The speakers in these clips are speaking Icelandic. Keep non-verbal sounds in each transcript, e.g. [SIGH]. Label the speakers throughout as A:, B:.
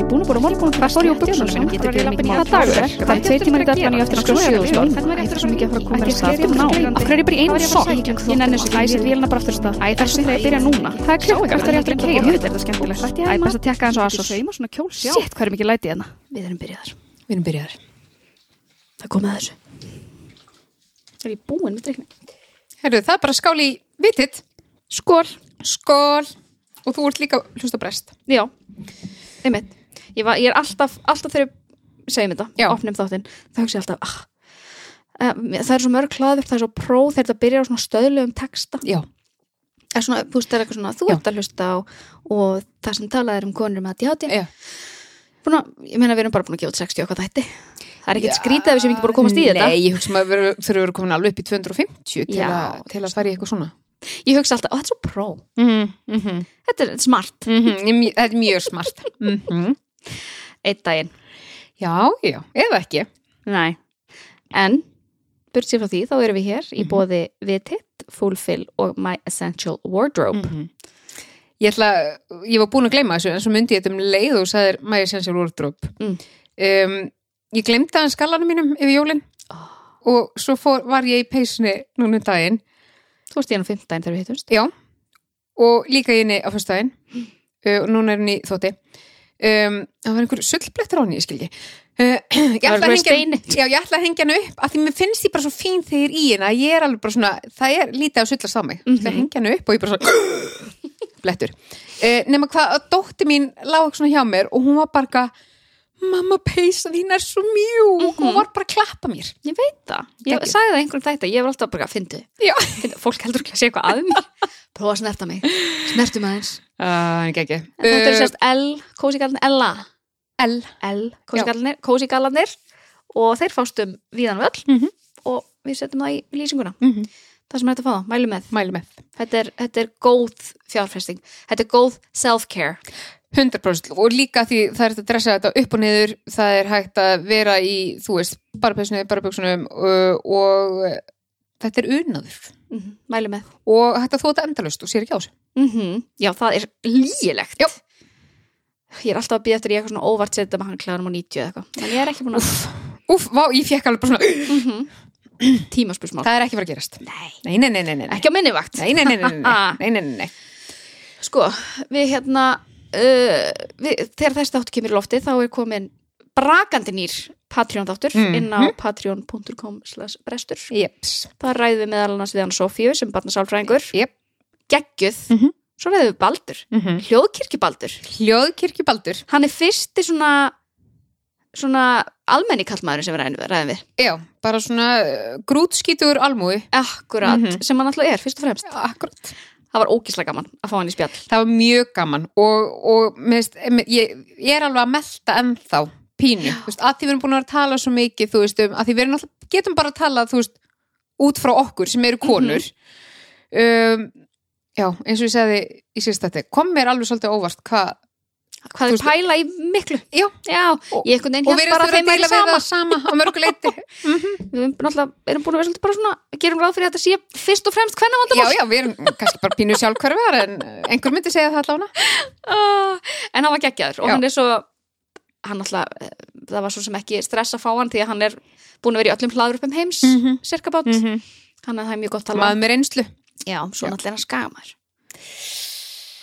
A: tilbúin bara að
B: Fór ég
A: snorja
B: á
A: úr
B: buxunum
A: buksunum
B: mínum,
A: Getur
B: bara
A: verið
B: í
A: lappinni
B: labbinni í
A: Hvaða dagur er? Það er tveir tímar í deadline og ég eftir að skjóða sjóðustól
B: Hvernig
A: Ég
B: maður
A: er
B: eftir
A: svo
B: að
A: mikið að fara að koma
B: gera
A: mér af stað
B: þetta?
A: Ná, af hverju er ég bara í
B: Hvað er
A: einum
B: ég að fara að
A: sokk?
B: segja?
A: Ég nenni þessu, um æ, ég set vélina bara aftur af stað Æ, þessum þegar ég byrja núna Það er klukk, eftir að ég eftir að keira Jöfnveld er þetta skemmtilegt Æ, best að tekka eins og asos Sitt, hvað er mikið læti hérna
B: Við erum byrjaðar
C: Við erum byrjaðar. Það kom að þessu.
B: Það er ég búin með drikni
C: Herru, það er bara skál í vitið.
B: Skól
C: Skál. Og þú ert líka hlusta brest.
B: Já, einmitt Ég, var, ég er alltaf, alltaf þegar ég segjum þetta,
C: Já.
B: opnum þáttinn þá hugsa ég alltaf ah, eh, það er svo mörg hlaðvörp, það er svo pró þegar þetta byrjar á svona stöðlegum texta
C: Já.
B: Eða svona, þú veist, það er eitthvað svona, þú
C: Já.
B: ert að hlusta á, og það sem talað er um konur með ADHD
C: Já.
B: Búna, ég meina við erum bara búin að gefa út 60 okkar þætti það er ekkert skrítið að við séum ekki búin að komast í þetta
C: Nei, ég hugsa maður veru- þurfum að vera komin alveg upp í 250 til,
B: Já.
C: að, til að fara í eitthvað svona.
B: ég hugsa alltaf, ó, þetta er svo pró, Mhm,
C: Mm, mm -hmm.
B: þetta er smart
C: Mm -hmm. Þetta er mjög smart. Mm
B: einn daginn,
C: Já, já, eða ekki.
B: nei en, burt sér frá því, þá erum við hér í bóði Vitit, Fulfill og My Essential Wardrobe
C: Ég ætla, ég var búin að gleyma þessu en svo myndi ég þetta um leið og sagðir My Essential Wardrobe
B: Mm.
C: um, Ég gleymdi aðeins skallanum mínum yfir jólin
B: Ah.
C: og svo fór, var ég í peysinni núna um daginn
B: þú varst í hann á fimmtudaginn þegar við hittumst
C: Já, og líka í henni á föstudaginn
B: Mm.
C: uh, og núna er henni í þótti um, Það var einhver sullblettur á henni, ég skilji uh, [CLEARS THROAT] ég,
B: Það var
C: ætla
B: einhver
C: að
B: steini.
C: hengja, já, ég ætla að hengja henni upp af því mér finnst ég bara svo fín þegar ég er í henni að ég er alveg bara svona, það er lítið að sullast á mig mm
B: Mhm.
C: -hmm. hengja henni upp og ég bara svona [CLEARS THROAT] blettur uh, nema hvað að dótti mín lág svona hjá mér og hún var bara eitthvað, mamma peysa þín er svo mjúk og
B: Mhm.
C: hún var bara að klappa mér
B: ég veit það, ég
C: Thank you.
B: sagði það einhverjum þætti ég var alltaf bara að fyndi,
C: Já,
B: Fyndi- fólk heldur ekki að sé eitthvað að mér [LAUGHS] prófa að snerta mig, snertum aðeins Ah,
C: uh, ekki ekki
B: en þetta er sérst L, kósikallan Ella
C: L
B: L, kósigallanir og þeir fást um víðan völl
C: Mhm.
B: og við setjum það í lýsinguna
C: mm
B: það sem er hægt að fá, það, mælu með
C: Mælu með
B: þetta er, þetta er góð fjárfesting þetta er góð self-care
C: 100% og líka því það er hægt að dressa þetta upp og niður, það er hægt að vera í, þú veist, barabessunni, baraböksunum uh, og uh, þetta er unnaður
B: mm mælu með
C: og hægt að þóta endalaust og sér ekki á sig.
B: mm já, það er lýjilegt
C: Já.
B: ég er alltaf að býja eftir í eitthvað svona óvart setja með hangklæðanum á 90 eða eitthvað en ég er ekki búin að
C: Úf, vá, ég fekk alveg bara svona, [GASPS]
B: mm -hmm. tímaspursmál
C: það er ekki að fara að gerast.
B: nei,
C: Nei, nei, nei, nei, nei.
B: ekki á minni vakt
C: Nei, nei, nei, nei, nei,
B: [LAUGHS]
C: nei, nei, nei, nei.
B: sko, við hérna uh, við, þegar þessi þáttu kemur í lofti þá er komin brakandi nýr Patreon þáttur
C: Mhm.
B: inn á patreon.com slash brestur
C: Jeps,
B: það ræðum við meðal annars við hann Sofíu sem barna sálfræðingur
C: jep.
B: geggjuð,
C: Mhm.
B: svo ræðum við Baldur
C: Mm -hmm.
B: hljóðkirkjubaldur,
C: Hljóðkirkjubaldur.
B: hann er fyrsti svona svona almenni kallmaður sem við ræðum- ræðum við
C: Já, bara svona uh, grútskítur almúi.
B: akkurat,
C: Mhm.
B: sem hann alltaf er fyrst og fremst
C: Akkurat.
B: það var ógislega gaman að fá hann í spjall
C: það var mjög gaman og, og minnst, ég, ég er alveg að melta ennþá pínu, þú veist, að því við erum búin að vera að tala svo mikið, þú veist, um, að því við erum alltaf, getum bara að tala, þú veist, út frá okkur sem eru konur
B: Mhm.
C: um, já, eins og ég segði í sérstætti, kom mér alveg svolítið á óvart hvað,
B: hvað
C: Þú
B: er
C: veist-
B: pæla í miklu
C: Já. Og-
B: ég einhvern veginn
C: og
B: hélt
C: við erum
B: bara að
C: að
B: þeim væri
C: deila við
B: sama
C: það sama á mörgu
B: [LAUGHS]
C: leiti,
B: við erum náttúrulega erum búin að vera svolítið bara svona gerum ráð fyrir að þetta sé fyrst og fremst hvernig
C: já,
B: vandamál
C: já, við erum kannski bara pínu sjálfhverfar en einhver myndi segja það allavega
B: uh, en hann var geggjaður og
C: Já.
B: hann er svo hann alltaf, eh, það var svo sem ekki stress að fá hann því að hann er búin að vera í öllum hlaðurupum heims mm
C: Mhm.
B: cirka bát, mm
C: Mhm.
B: hann er það er mjög gott að tala
C: maður með reynslu
B: já, svo náttúrulega er hann skagamæður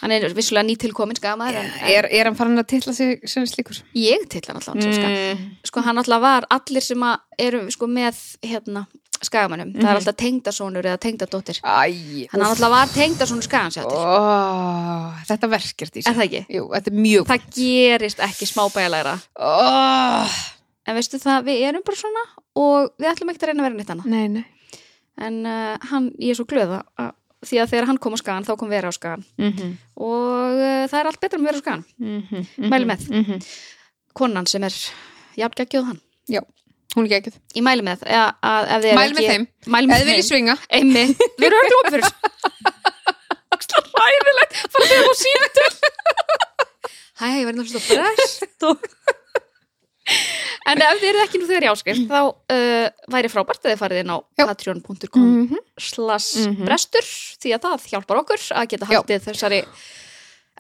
B: hann er vissulega nýtilkomin skagamæður en, en
C: er, er hann farin að titla sig sem slíkur
B: ég til hann alltaf hann sem skagamæður
C: Mm.
B: sko hann alltaf var allir sem að eru sko með hérna skagamænum, það er
C: Mhm.
B: alltaf tengdasonur eða tengdadóttir,
C: Æ,
B: hann
C: úff.
B: alltaf var tengdasonur skagansjáttir
C: oh, þetta verkert í
B: Er
C: sig
B: það ekki?
C: Jú, þetta er mjög
B: Það gerist ekki smábælæra.
C: oh,
B: En veistu það, við erum bara svona og við ætlum ekki að reyna að vera neitt annað.
C: nei, nei.
B: En uh, hann, ég er svo glöða að, því að þegar hann kom á skagan, þá kom vera á skagan.
C: Mm -hmm.
B: Og uh, það er allt betra með vera á skagan.
C: Mm -hmm.
B: Mæli með.
C: mm -hmm.
B: Konan sem er jafn geggjöð hann.
C: Já, hún er ekki ekkert
B: Ég mæli með að, að, ef þið er
C: Mæli með
B: ekki...
C: þeim,
B: Mæli
C: eða
B: með
C: vilji
B: þeim.
C: svinga
B: Einmi,
C: [LAUGHS]
B: við erum öllum opið fyrir [LAUGHS] þessu. Axla ræðilegt, bara þegar þú síðan til. Hæ, ég verði náttúrulega brest og... En ef þið eruð ekki nú þegar jáskir, þá uh, væri frábært að þið farið inn á
C: Mm. Já.
B: patreon.com
C: -hmm.
B: slash
C: Mhm.
B: brestur því að það hjálpar okkur að geta
C: Já.
B: haldið þessari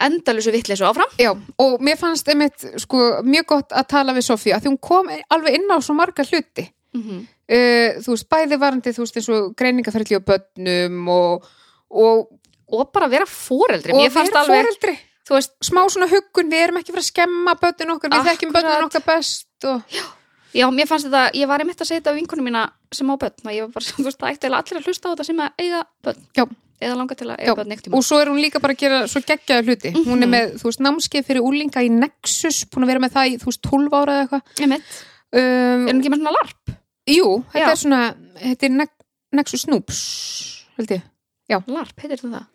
B: endalösu vitleysu áfram
C: Já, og mér fannst einmitt sko, mjög gott að tala við Sofíu af því hún kom alveg inn á svo marga hluti
B: Mhm.
C: uh, þú veist, bæði varandi þú veist, eins og greiningaferðli og börnum og, og,
B: og bara vera foreldri
C: og
B: mér fannst
C: vera
B: alveg,
C: foreldri
B: þú veist,
C: smá svona huggun, við erum ekki fyrir að skemma börnun okkar, við þekkjum börnun
B: Akkurat.
C: okkar best og,
B: já, mér fannst þetta ég var einmitt að segja þetta á vinkunum mína sem á börn og ég var bara, [LAUGHS] þú veist, það ætti eiginlega allir að hlusta á þetta sem að eiga börn
C: Já.
B: eða langa til að
C: Já.
B: eiga börn neitt tíma
C: og svo er hún líka bara að gera svo geggjaða hluti
B: Mhm.
C: hún er með, þú veist, námskeið fyrir úlinga í Nexus, búin að vera með það í, þú veist, 12 ára eða eitthvað
B: einmitt,
C: um,
B: er hún ekki með svona larp
C: Jú,
B: Já.
C: þetta er svona, þetta er ne Nexus Snoops, held ég.
B: larp, heitir þetta það?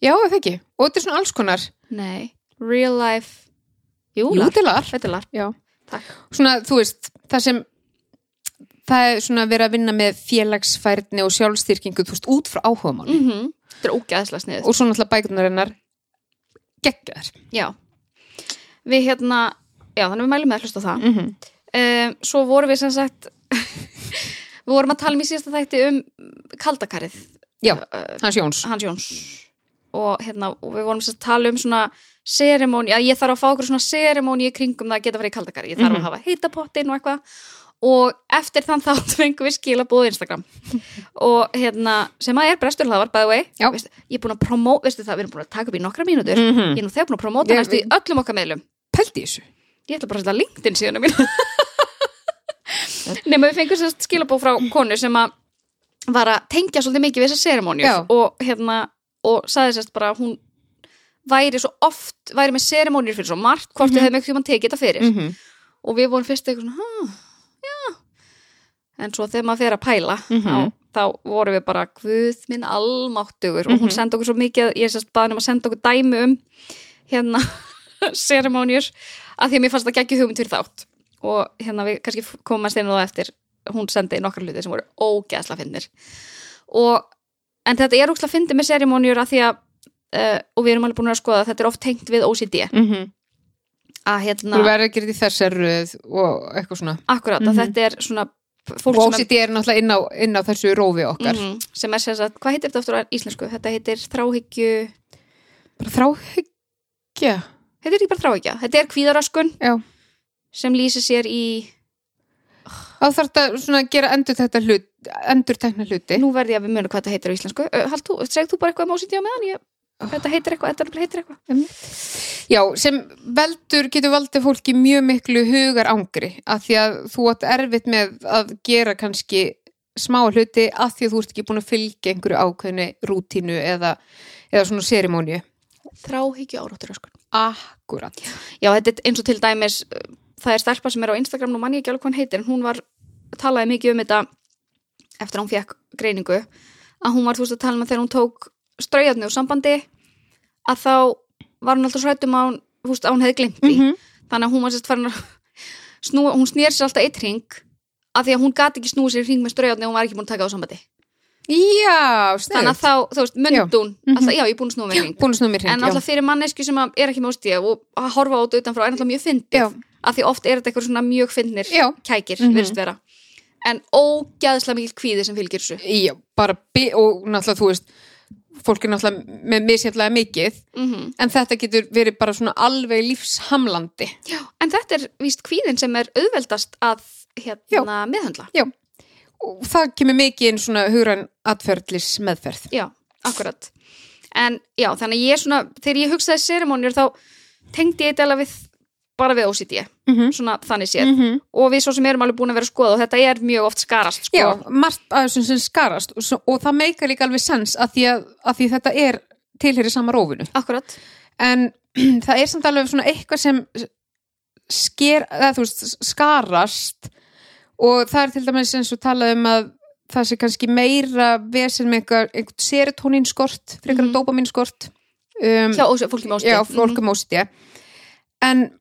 C: Já, er það ekki. Og þetta er svona alls konar.
B: nei, real life jú,
C: Jú,
B: larp,
C: þetta er larp.
B: þetta er larp
C: Já.
B: Takk.
C: Svona, þú veist, það sem, það er svona verið að vinna með félagsfærni og sjálfstyrkingu, þú veist, út frá áhugamál.
B: mm þetta er ógæðslega sniðið
C: Og svona alltaf bækunar hennar geggar.
B: Já, við hérna, já þannig við mælum með að hlusta á það.
C: Mm -hmm.
B: Um, svo vorum við sem sagt, [LAUGHS] við vorum að tala um í síðasta þætti um kaldakarið
C: Já, hans Jóns.
B: Hans Jóns og hérna, og við vorum sem sagt að tala um svona seremóni, að ég þarf að fá okkur svona seremóni í kringum það að geta að fara í kaldakarið, ég þarf
C: Mhm.
B: að hafa heitapottin og eitthvað og eftir þann [LAUGHS] þátt fengum við skilabóð á Instagram og hérna, sem að er bresturhlaðar by the way,
C: Já.
B: Veist, ég er búin að promóta, veistu það, við erum búin að taka upp í nokkra mínútur
C: Mm
B: ég
C: -hmm.
B: er nú þegar búin að promóta
C: Ég-
B: næstu í öllum okkar meðlum
C: Pældi í þessu.
B: ég ætla bara að setja LinkedIn síðan mín nema við fengum sérst skilabóð frá konu sem að var að tengja svolítið mikið við þessa seremónjur
C: Já.
B: og hérna og sagði sérst bara að hún væri svo oft, væri með seremónjur fyrir svo margt hvort við hefðum eitthvað tekið þetta fyrir
C: Mm -hmm.
B: og við vorum fyrst eitthvað svona "Huh, já en svo þegar maður fer að pæla
C: Mhm.
B: þá, þá vorum við bara guð minn almáttugur og hún
C: Mhm.
B: sendi okkur svo mikið ég sérst baðin um að senda okkur dæmi um hérna [LAUGHS] seremónjur að því að mér fannst það geggjum hugmynd fyrir þátt og hérna við kannski komast inn á það eftir hún sendi nokkra hluti sem voru ógeðsla finnir og en þetta er úksla fyndið með seremónjur að því að Uh, og við erum alveg búin að skoða að þetta er oft tengt við OCD
C: Mm -hmm.
B: að hérna,
C: Þú verður að gera þetta í þessar röð og eitthvað svona.
B: akkurat,
C: Mhm.
B: að þetta er svona fólk sem er
C: Og OCD er náttúrulega inn á, inn á þessu rófi okkar.
B: mm sem er sem sagt, hvað heitir þetta aftur á íslensku? Þetta heitir þráhyggju,
C: Bara þráhyggja.
B: heitir þetta ekki bara þráhyggja? Þetta er kvíðaraskun
C: Já.
B: sem lýsir sér í,
C: þá þarf þetta svona að gera endur þetta hlut, endur tekna hluti
B: nú verði ég að við munum hvað þetta heitir á íslensku, uh, hald þú, segð þú bara eitthvað um ósýtja á meðan, ég,
C: Oh.
B: þetta heitir eitthvað, þetta nefnilega heitir eitthvað.
C: já, sem veldur getur valdið fólki mjög miklu hugar angri af því að þú átt erfitt með að gera kannski smá hluti af því að þú ert ekki búin að fylgja einhverju ákveðinu rútínu eða, eða svona sérimóníu
B: Þráhyggju árátturöskun.
C: akkurat
B: Já, þetta er eins og til dæmis, uh, það er stelpa sem er á Instagram, nú mann ég ekki alveg hvað hann heitir, en hún var, talaði mikið um þetta eftir að hún fekk greiningu, að hún var þú veist að tala með þegar hún tók straujarni úr sambandi, að þá var hún alltaf srættum að hún, þú veist, að hún hefði glimt því.
C: Mhm.
B: þannig að hún var sérst farin að [LAUGHS] snúa, hún snýr sér alltaf eitt ring af því að hún gat ekki snúið sér í ring með ströjáðni og hún var ekki búin að taka á sambandi
C: já,
B: þannig
C: snöð
B: að þá, þú veist,
C: Já.
B: myndun
C: Mhm.
B: alltaf, já, ég er búin að snúa með ring
C: búin að snúa mér
B: en
C: hreint, já.
B: alltaf fyrir mannesku sem að er ekki með óstíða og að horfa á þetta utanfrá er alltaf mjög fyndið
C: Já.
B: af því oft er þetta eitthvað svona mjög fyndnir
C: já,
B: kækir,
C: Mhm.
B: virðist vera en ógæðslega mikil kvíði sem fylgir þessu
C: já, bara bi- og náttúrulega þú veist fólk er náttúrulega með misjætlega mikið
B: mm
C: en þetta getur verið bara svona alveg lífshamlandi
B: en þetta er víst kvíðin sem er auðveldast að
C: Já.
B: hérna meðhandla
C: og það kemur mikið inn svona hugrann atferðlis meðferð
B: Já, akkurat. En já, þannig að ég svona, þegar ég hugsaði seremónir þá tengdi ég þetta alveg við, bara við OCD,
C: mm -hmm.
B: svona þannig séð.
C: Mhm.
B: Og við svo sem erum alveg búin að vera að skoða og þetta er mjög oft skarast, sko.
C: já, margt af þessum sem skarast og, svo, og það meika líka alveg sens að því, að, að því þetta er tilheyri sama rófinu
B: Akkurat.
C: en [CLEARS THROAT] það er samt alveg svona eitthvað sem sker, eða, þú veist, skarast og það er til dæmis eins og talað um að það sé kannski meira vesen með einhver, einhvern serotoninskort frekar mm
B: Mhm.
C: -hmm. dópaminskort um,
B: Hjá ósi- fólki með OCD.
C: já, fólk um OCD en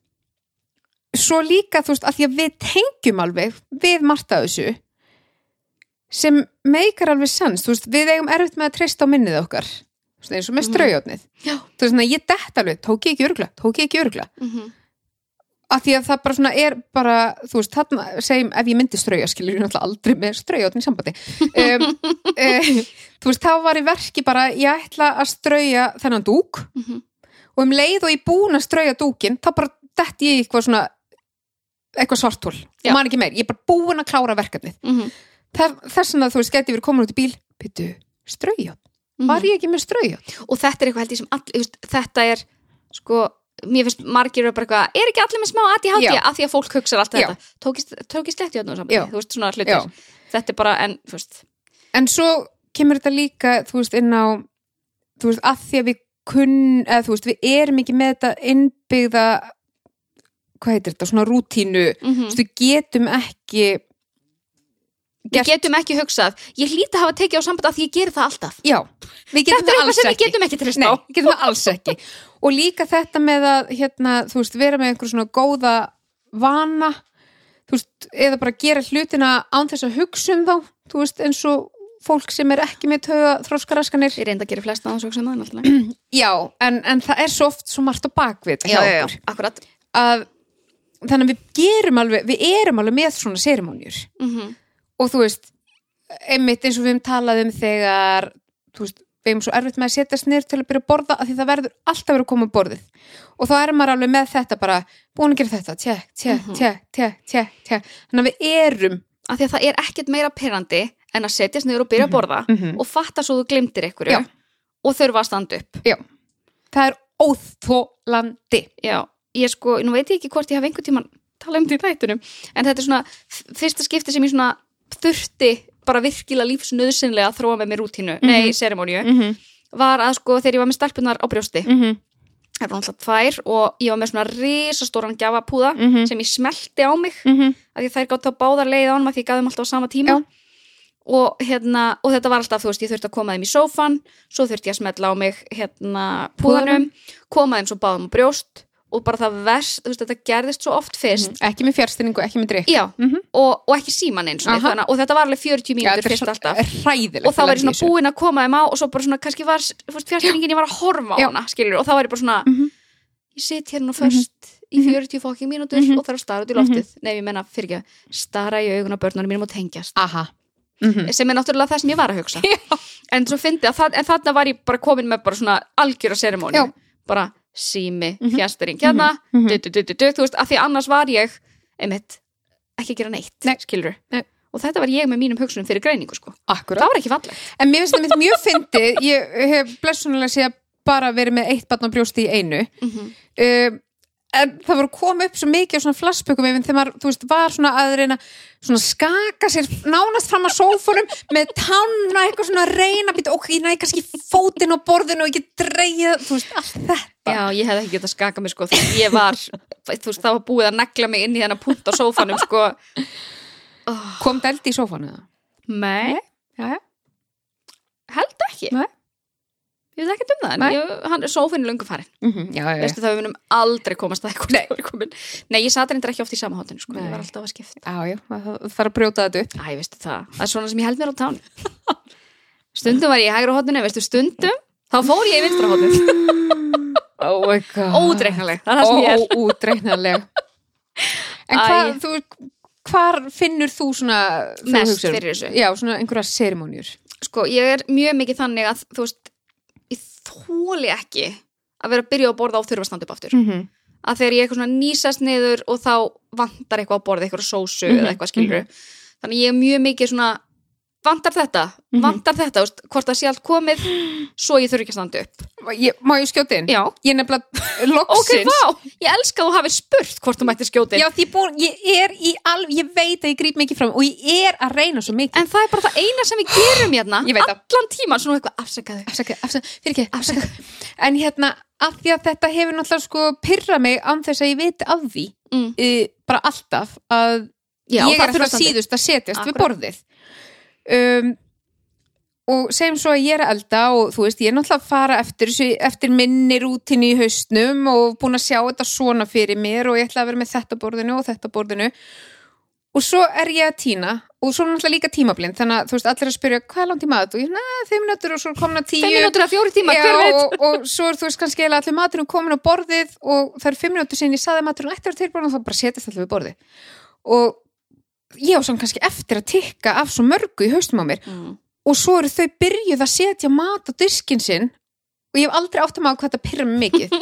C: svo líka þú veist að því að við tengjum alveg við margt af þessu sem meikar alveg sens þú veist, við eigum erfitt með að treysta á minnið okkar Þú veist, eins og með
B: Mhm.
C: straujótnið
B: Já.
C: þú veist, þannig að ég dett alveg, tók ég ekki örgla tók ég ekki örgla,
B: Mm -hmm.
C: að því að það bara svona er bara, þú veist, þarna segjum ef ég myndi strauja, skilur ég náttúrulega aldrei með straujótn í sambandi um,
B: [LAUGHS]
C: uh, þú veist, þá var í verki bara, ég ætla að strauja þennan dúk
B: Mhm.
C: og um leið og ég er búin að strauja dúkin þá bara dett ég í eitthvað svona eitthvað svartól,
B: Já.
C: ég man ekki meir ég er bara búin að klára verkefnið
B: Mhm.
C: Þa- þess vegna þú veist, gæti verið komin út í bíl byrju, strauja,
B: Mhm.
C: var ég ekki með strauja
B: og þetta er eitthvað held ég sem all, just, þetta er sko mér finnst margir eru bara eitthvað, er ekki allir með smá ADHD
C: Já.
B: af því að fólk hugsar allt
C: Já.
B: þetta tókist, tókist lett í öðnum
C: Já.
B: saman þú veist svona hlutir,
C: Já.
B: þetta er bara en þú veist,
C: en svo kemur þetta líka þú veist, inn á þú veist, að því að við kunn eða þú veist, við erum ekki með þetta innbyggða hvað heitir þetta, svona rútínu þú
B: mm
C: veist, við getum ekki
B: við getum ekki hugsað ég hlýta að hafa tekið á samband af því ég geri það alltaf
C: já, við
B: þetta
C: getum
B: er
C: það
B: eitthvað
C: alls
B: sem við
C: ekki
B: getum ekki trist
C: Nei,
B: á
C: getum það alls ekki og líka þetta með að hérna, þú veist, vera með einhver svona góða vana þú veist, eða bara gera hlutina án þess að hugsa um þá þú veist, eins og fólk sem er ekki með tauga þróskaraskanir
B: ég reynda að gera flest aðeins hugsa um það en alltaf
C: Já, en, en það er svo oft svo margt á bakvið hjá okkur.
B: akkurat
C: að þannig að við gerum alveg, við erum alveg með svona sérimónjur
B: mm
C: og þú veist, einmitt eins og við höfum talað um þegar þú veist, við erum svo erfitt með að setjast niður til að byrja að borða af því það verður alltaf verið að koma á borðið og þá er maður alveg með þetta bara búin að gera þetta, tjekk, tjekk,
B: Mhm.
C: tjekk, tjekk, tjekk, tjekk, þannig að við erum
B: af því að það er ekkert meira perandi en að setjast niður og byrja að borða
C: Mhm.
B: og fatta svo þú glimtir ykkur
C: Já.
B: og þurfa að standa upp
C: það er óþólandi
B: Já, ég sko, nú veit ég ekki hvort ég hef einhvern tíman talað um þetta í þættunum en þetta er svona f- fyrsta skipti sem ég svona þurfti bara virkilega lífsnöðsynlega að þróa með mér rútínu, nei, seremóníu
C: mm -hmm.
B: var að sko þegar ég var með stelpunar á brjósti
C: Mm -hmm.
B: það var alltaf tvær og ég var með svona risastóran gjafapúða
C: Mhm.
B: sem ég smelti á mig
C: Mm -hmm.
B: af því að þær gátt þá báðar leið ánum af því ég gaf þeim alltaf á sama tíma
C: Já.
B: og, hérna, og þetta var alltaf, þú veist, ég þurfti að koma þeim í sófan svo þurfti ég að smetla á mig hérna, púðanum, koma þeim svo báðum á brjóst og bara það verst, þú veist, þetta gerðist svo oft fyrst
C: ekki með fjárstyrningu, ekki með drikk
B: Já,
C: Mhm.
B: og, og ekki síman eins og,
C: Aha.
B: þannig, og þetta var alveg 40
C: Já,
B: mínútur
C: þetta
B: fyrst alltaf
C: er hræðilegt
B: og þá var ég svona búin að koma þeim á og svo bara svona, kannski var fjárstæringin ég var að horfa á
C: Já.
B: hana, skilur, og þá var ég bara svona
C: Mhm.
B: ég sit hérna först í 40 fokking mínútur
C: Mhm.
B: og þarf að stara út í loftið nei, ég menna, fyrir ekki, stara í augun á börnunum mínum og tengjast,
C: aha mm
B: sem er náttúrulega það sem ég var að hugsa en svo fyndi að það, en þarna var ég bara komin með bara svona algjöra
C: Já.
B: seremóni bara sími,
C: Mhm.
B: fjárstæring hérna,
C: Mhm.
B: du, du, du, du, du, þú veist, af því annars var ég einmitt, ekki að gera neitt
C: Nei.
B: skilur
C: Nei.
B: og þetta var ég með mínum hugsunum fyrir greiningu sko. það
C: Akkurat.
B: var ekki fallegt
C: En mér finnst það mitt mjög fyndið, ég hef blessunulega séð bara verið með eitt barn á brjósti í einu. Um, en það voru komið upp svo mikið á svona flassbökum yfir þegar maður, þú veist, var svona að reyna svona skaka sér nánast fram að sófunum með tanna eitthvað svona að reyna býta, ok, ég næ kannski fótinn á borðinu og ekki dreyja, þú veist, allt þetta.
B: Já, ég hefði ekki getað skakað mig sko því ég var, [LAUGHS] þú veist, það var búið að negla mig inn í þennan punkt á sófanum [LAUGHS] sko
C: Kom dældi í sófanu það?
B: Oh, Nei,
C: Já, já.
B: held ekki
C: Nei.
B: Ég veit ekki um það, en
C: Nei.
B: ég, hann er sófinn löngu farin
C: Mhm. já, já, já.
B: Veistu það, við munum aldrei komast að eitthvað Nei, komin. Nei ég sat reyndar ekki oft í sama hotinu sko
C: Nei.
B: Ég var alltaf að skipta
C: Já, já, það það þarf að brjóta þetta upp.
B: Æ, veistu það, það er svona sem ég held mér á tán Stundum var ég í hægra hotinu, veistu, stundum Þá fór ég í vinstra hotinu
C: Oh my god.
B: Ódreiknaleg, Ah. það er það sem ég er
C: óútreiknanleg en
B: Æ.
C: hvað þú, hvar finnur þú svona þú
B: Mest
C: hugsar um-
B: fyrir þessu.
C: já, svona einhverja serimónjur
B: sko, ég er mjög mikið þannig að þú veist, ég þóli ekki að vera að byrja að borða á þurfa að standa upp aftur
C: mm -hmm.
B: að þegar ég eitthvað svona nýsast niður og þá vantar eitthvað á borðið, eitthvað sósu
C: Mhm,
B: eða eitthvað skilur þannig ég er mjög mikið svona vantar þetta,
C: Mhm.
B: vantar þetta þú veist, hvort það sé allt komið svo ég þurfi ekki að standa upp
C: ég, má ég skjóti inn?
B: já,
C: ég er nefnilega
B: ok,
C: loksins
B: vá, ég elska að þú hafið spurt hvort þú mættir skjóti
C: já, því ég, búin, ég er í alveg ég veit að ég grýp mikið fram og ég er að reyna svo mikið
B: en það er bara það eina sem við gerum hérna
C: Ég veit það.
B: allan tíma, svona eitthvað afsakaðu
C: afsaka, afsaka, fyrir ekki, afsaka en hérna, af því að þetta hefur náttúrulega sko pyrra mig án þess að ég veit af því
B: Mm.
C: e, bara alltaf að
B: já,
C: ég
B: það þurfa
C: er alltaf
B: að standa upp.
C: síðust að setjast við
B: Akkurat.
C: borðið um, og segjum svo að ég er að elda og þú veist, ég er náttúrulega að fara eftir, þessu- eftir minni rútinni í haustnum og búin að sjá þetta svona fyrir mér og ég ætla að vera með þetta borðinu og þetta borðinu og svo er ég að týna og svo er náttúrulega líka tímablind þannig að þú veist, allir að spyrja hvað er langt tíma að þetta og ég, na, þeim minútur og svo er komna tíu
B: fimm minútur að fjóri tíma, hver
C: Já,
B: veit
C: og, og svo er þú veist kannski eiginlega allir maturinn komin á borðið og það er fimm minútur sinni ég saði að maturinn ætti að vera tilbúin og þá bara setjast allir við borðið og ég á samt kannski eftir að tikka af svo mörgu í haustum á mér
B: Mm.
C: og svo eru þau byrjuð að setja mat á diskinn sinn og ég hef aldrei átt að maður hvað þetta pyrra mig mikið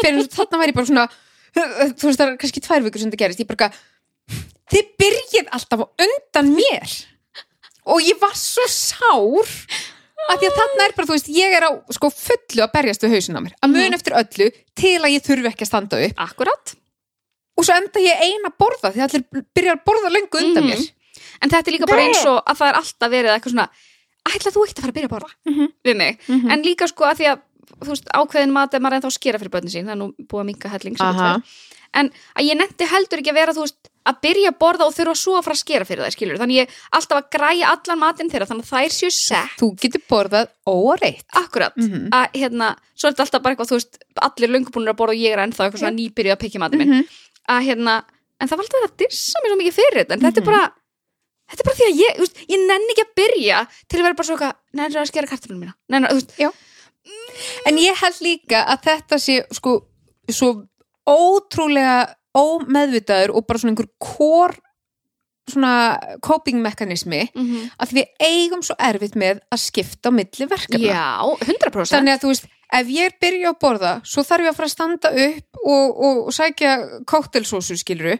C: fyrir þess að þarna væri ég bara svona þú veist það er kannski tvær vikur sem þetta gerist ég bara eitthvað, þið byrjið alltaf á undan mér og ég var svo sár að því að þarna er bara, þú veist, ég er á sko fullu að berjast við hausinn á mér að mun eftir öllu til að ég þurfi ekki að standa upp
B: Akkurat.
C: og svo enda ég eina að borða því að allir byrjar að borða löngu undan
B: Mhm.
C: mér
B: En þetta er líka bara eins og að það er alltaf verið eitthvað svona, ætla þú ekkert að fara að byrja að borða við mig. En líka sko að því að, þú veist, ákveðin mat er maður ennþá að skera fyrir börnin sín, það er nú búið að minka helling sem
C: Aha.
B: þetta En að ég nefndi heldur ekki að vera, þú veist, að byrja að borða og þurfa svo að fara að skera fyrir það, skilur. Þannig ég alltaf að græja allan matinn þeirra, þannig að þær séu sett.
C: þú getur borðað óreitt
B: Akkurat,
C: Mhm.
B: að hérna, svo er þetta alltaf bara eitthvað, þú veist, allir löngubúnir að borða og ég er ennþá eitthvað svona nýbyrjuð að pikki matinn minn.
C: Mhm.
B: Að hérna, en það var alltaf að dissa mér svo mikið fyrir þetta, en þetta er
C: Mhm.
B: bara, þetta er bara því að ég, þú veist, ég nenni ekki að byrja til að vera bara svo eitthvað, nenni að skera kartaflunum mína, nenni, þú veist,
C: en ég held líka að þetta sé sko svo ótrúlega ómeðvitaður og bara svona einhver kór svona coping mekanismi að því við eigum svo erfitt með að skipta á milli verkefna
B: já, 100%.
C: þannig að þú veist, ef ég byrja að borða svo þarf ég að fara að standa upp og, og, og sækja koktelsósu skiluru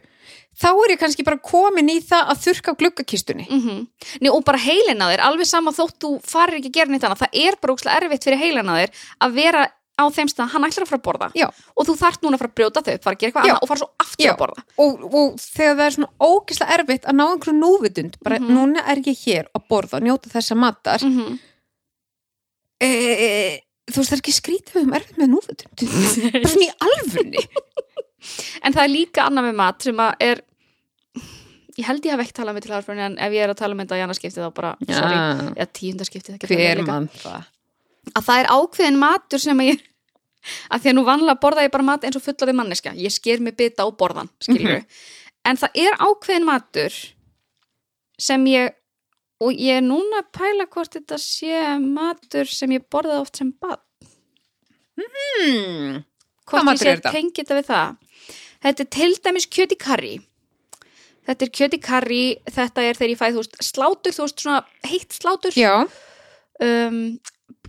C: þá er ég kannski bara komin í það að þurka af gluggakistunni
B: Mm Nei, og bara heilin að þér, alveg sama þótt þú farir ekki að gera neitt annað, það er bara úkslega erfitt fyrir heilin að þér að vera á þeim stað, hann ætlar að fara að borða
C: Já.
B: og þú þarft núna að fara að brjóta þau, upp, fara að gera eitthvað
C: Já.
B: annað og fara svo aftur
C: Já.
B: að borða
C: og, og þegar það er svona ógislega erfitt að ná einhverju núvitund bara
B: Mhm.
C: núna er ég hér að borða og njóta þessa matar
B: mm -hmm.
C: e, e, e, þú veist það er ekki skrítið við um erfitt með
B: [LAUGHS]
C: núvitund bara svona í alvunni
B: En það er líka annað með mat sem að er ég held ég hef ekki talað um með til aðarfröðin en ef ég er að tala með þetta í annarskipti þá bara sorry, eða tíundarskipti það getur verið líka.
C: mann það
B: að það er ákveðin matur sem að ég að því að nú vanlega borða ég bara mat eins og fullari manneska, ég sker mig bita á borðan skilju, en það er ákveðin matur sem ég og ég er núna að pæla hvort þetta sé matur sem ég borðaði oft sem bad
C: hmm.
B: hvort
C: matur
B: ég sé
C: er
B: að
C: þetta?
B: tengi þetta við það þetta er til dæmis kjöti karri þetta er kjöti karri þetta er þegar ég fæ þú veist slátur þú veist svona heitt slátur
C: já
B: um,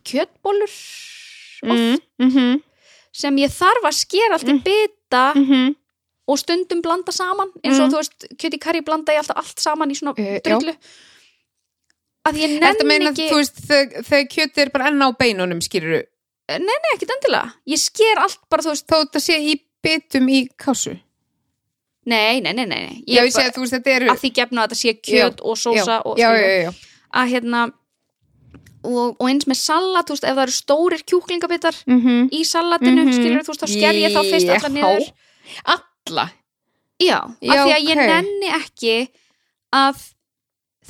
B: kjötbólur oft
C: mm. Mm
B: Mm-hmm.
C: -hmm.
B: sem ég þarf að skera allt í bita
C: Mm
B: Mm-hmm.
C: -hmm.
B: og stundum blanda saman eins og
C: Mm.
B: þú veist, kjöti karri blanda ég alltaf allt saman í svona
C: Eh, já.
B: drullu að ég
C: Þetta
B: nenni
C: meina,
B: ekki
C: þú veist, þegar, þegar kjötið er bara enn á beinunum, skiluru
B: nei, ekki endilega, ég sker allt bara þú veist,
C: þó þetta sé í bitum í kásu
B: nei, nei, nei, nei, nei.
C: Já, ég
B: bara-
C: segi að þú veist, þetta eru
B: að því gefna að þetta sé kjöt og sósa
C: já,
B: og
C: já,
B: skilur.
C: já, já, já.
B: að hérna og, og eins með salat, þú veist, ef það eru stórir kjúklingabitar
C: Mm -hmm.
B: í salatinu mm þú veist, þá sker ég þá fyrst allar niður
C: Alla
B: Já, af
C: Já,
B: því að ég
C: ok.
B: nenni ekki að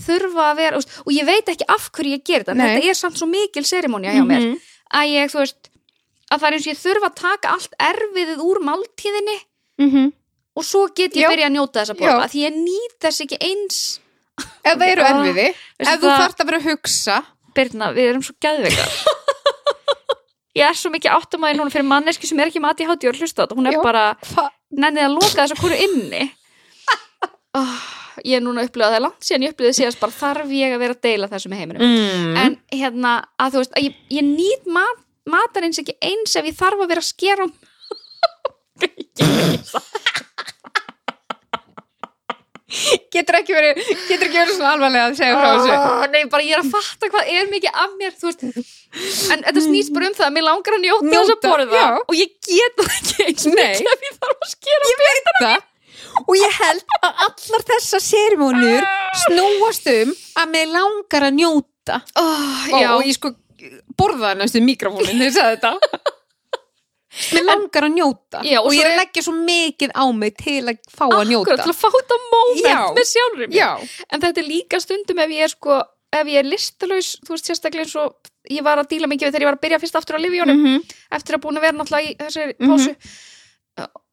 B: þurfa að vera úst, og ég veit ekki af hverju ég ger þetta en
C: Nei.
B: þetta er samt svo mikil serimónia hjá mér
C: Mhm.
B: að ég, þú veist, að það er eins og ég þurfa að taka allt erfiðið úr máltíðinni Mm-hmm.
C: Mhm.
B: og svo get ég
C: Já.
B: byrja að njóta þessa
C: Já.
B: borða af því ég nýt þess ekki eins
C: Ef það eru
B: Ah,
C: erfiði,
B: veistu
C: ef þú
B: það-
C: þarft að vera að hugsa
B: Birna, við erum svo gæðveikar Ég er svo mikið áttumæði núna fyrir manneski sem er ekki mati hátíð og hlusta á þetta, hún er
C: Já.
B: bara
C: hva-
B: nennið að loka þess að hverju inni oh, ég er núna upplifað það er langt síðan ég upplifið síðast bara þarf ég að vera að deila þessu með heiminum
C: mm.
B: en hérna að þú veist að ég, ég nýt mat, matarins ekki eins ef ég þarf að vera að skera um
C: Getur ekki verið Getur ekki verið svona alvarlega að segja frá þessu
B: Ah, nei, bara ég er að fatta hvað er mikið af mér þú veist, en þetta snýst bara um það að mér langar að njóta þess að
C: Njóta,
B: borða
C: já.
B: og ég get það ekki eins
C: Nei.
B: mikið [LAUGHS] ef ég þarf að skera
C: Ég veit það Og ég held að allar þessa sérimónur snúast um að mig langar að njóta
B: oh,
C: og,
B: já,
C: og ég sko borðaði næstu mikrofónin þegar ég sagði [LAUGHS] þetta mér langar að njóta
B: Já, og
C: og,
B: svo
C: ég er
B: er-
C: að leggja svo mikið á mig til að fá að njóta
B: akkurat til að fá þetta moment
C: Já.
B: með sjálfri mér
C: já,
B: en þetta er líka stundum ef ég er sko ef ég er listalaus, þú veist sérstaklega eins og ég var að díla mikið við þegar ég var að byrja fyrst aftur á livjónum
C: -hmm.
B: eftir að búin að vera náttúrulega í þessari
C: Mhm.
B: pásu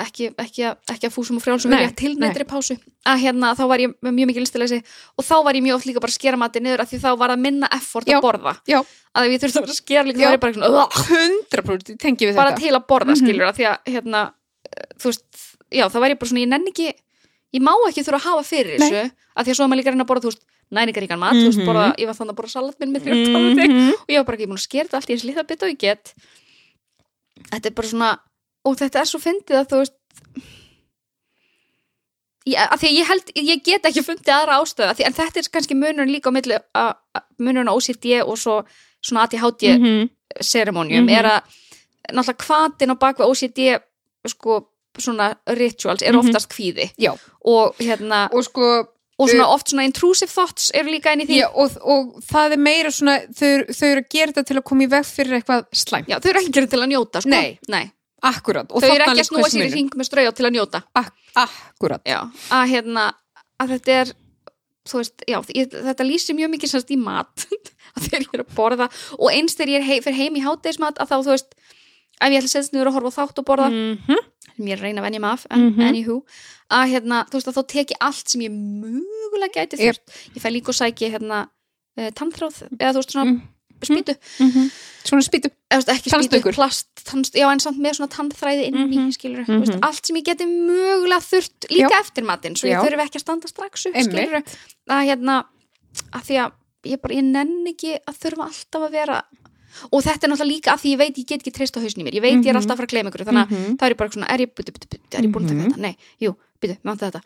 B: ekki, ekki, að- ekki að fúsum og frjálsum
C: Nei,
B: verja til neittri pásu að hérna þá var ég með mjög mikið listalausi og þá var ég mjög oft líka bara að skera mati niður af því þá var að minna effort
C: Já,
B: að borða
C: já.
B: að ef ég þurfti að vera að skera líka þá
C: Já.
B: var ég bara svona, "Ugh",
C: 100% tengi við
B: bara
C: þetta
B: til að borða
C: Mhm.
B: skilur af því að hérna, eh, þú veist, já þá var ég bara svona ég nenn ekki, ég má ekki þurfa að hafa fyrir
C: Nei.
B: þessu af því að svo er maður líka að reyna að borða þú veist, næringaríkan mat, þú veist,
C: Mhm.
B: borða, ég var þannig að borða salat minn með þrjótt
C: Mhm.
B: og ég var bara ekki búin að skera þetta allt í eins litla bit og ég get þetta er bara svona og þetta er svo fyndið að þú veist ég, að því að ég held ég get ekki fundið aðra ástöða því, en þetta er kannski munurinn líka á milli að- að- munurinn á OCD og svo svona ADHD mm
C: -hmm.
B: ceremonium
C: Mhm.
B: er að náttúrulega kvatin á bakveg OCD sko svona rituals er
C: Mhm.
B: oftast kvíði
C: Já.
B: og hérna
C: og sko
B: og svona oft svona intrusive thoughts eru líka inn í því
C: já, og, og það er meira svona þau, þau eru að gera þetta til að koma í veg fyrir eitthvað slæmt
B: Já, þau eru ekki gerðin til að njóta sko.
C: Nei. akkurat og
B: Þau eru
C: þarna
B: ekki að
C: liggur
B: snúa sér í
C: munurinn.
B: hring með strauja til að njóta
C: Ak akkurat
B: já, að hérna að þetta er þú veist, já, ég, þetta lýsir mjög mikið sannst í mat [LAUGHS] að þegar ég er að borða og eins þegar ég er hei, fyrir heim í hátegismat að þá þú veist, ef ég ætla að setja niður og horfa á þátt og borða,
C: -hmm.
B: sem ég er að reyna að venja mig af en,
C: Mhm.
B: anywho, að hérna, þú veist að þá teki allt sem ég mögulega gæti
C: Yep.
B: þurft, ég fæ líka og sæki hérna uh, tannþráð, eða þú veist svona
C: Mm.
B: spýtu,
C: svona spýtu
B: eða þú veist ekki spýtu,
C: Tannstökur.
B: plast tannst, já en samt með svona tannþræði inn í mm
C: Mhm.
B: skilur,
C: Mhm.
B: þú veist, allt sem ég geti mögulega þurft líka eftir matinn, svo ég
C: Já.
B: þurfi ekki að standa strax upp,
C: Einmitt.
B: skilur, að hérna að því að ég bara, ég nenn ekki að þurfa alltaf að vera og þetta er náttúrulega líka að því ég veit ég get ekki treyst á hausnum í mér, ég veit ég er
C: Mhm.
B: alltaf að fara að gleyma ykkur, þannig að
C: Mhm.
B: það er ég bara svona, er ég, byttu, byttu, byttu, er ég búin að taka
C: Mhm.
B: þetta? Nei, jú, byttu, mér vantar þetta.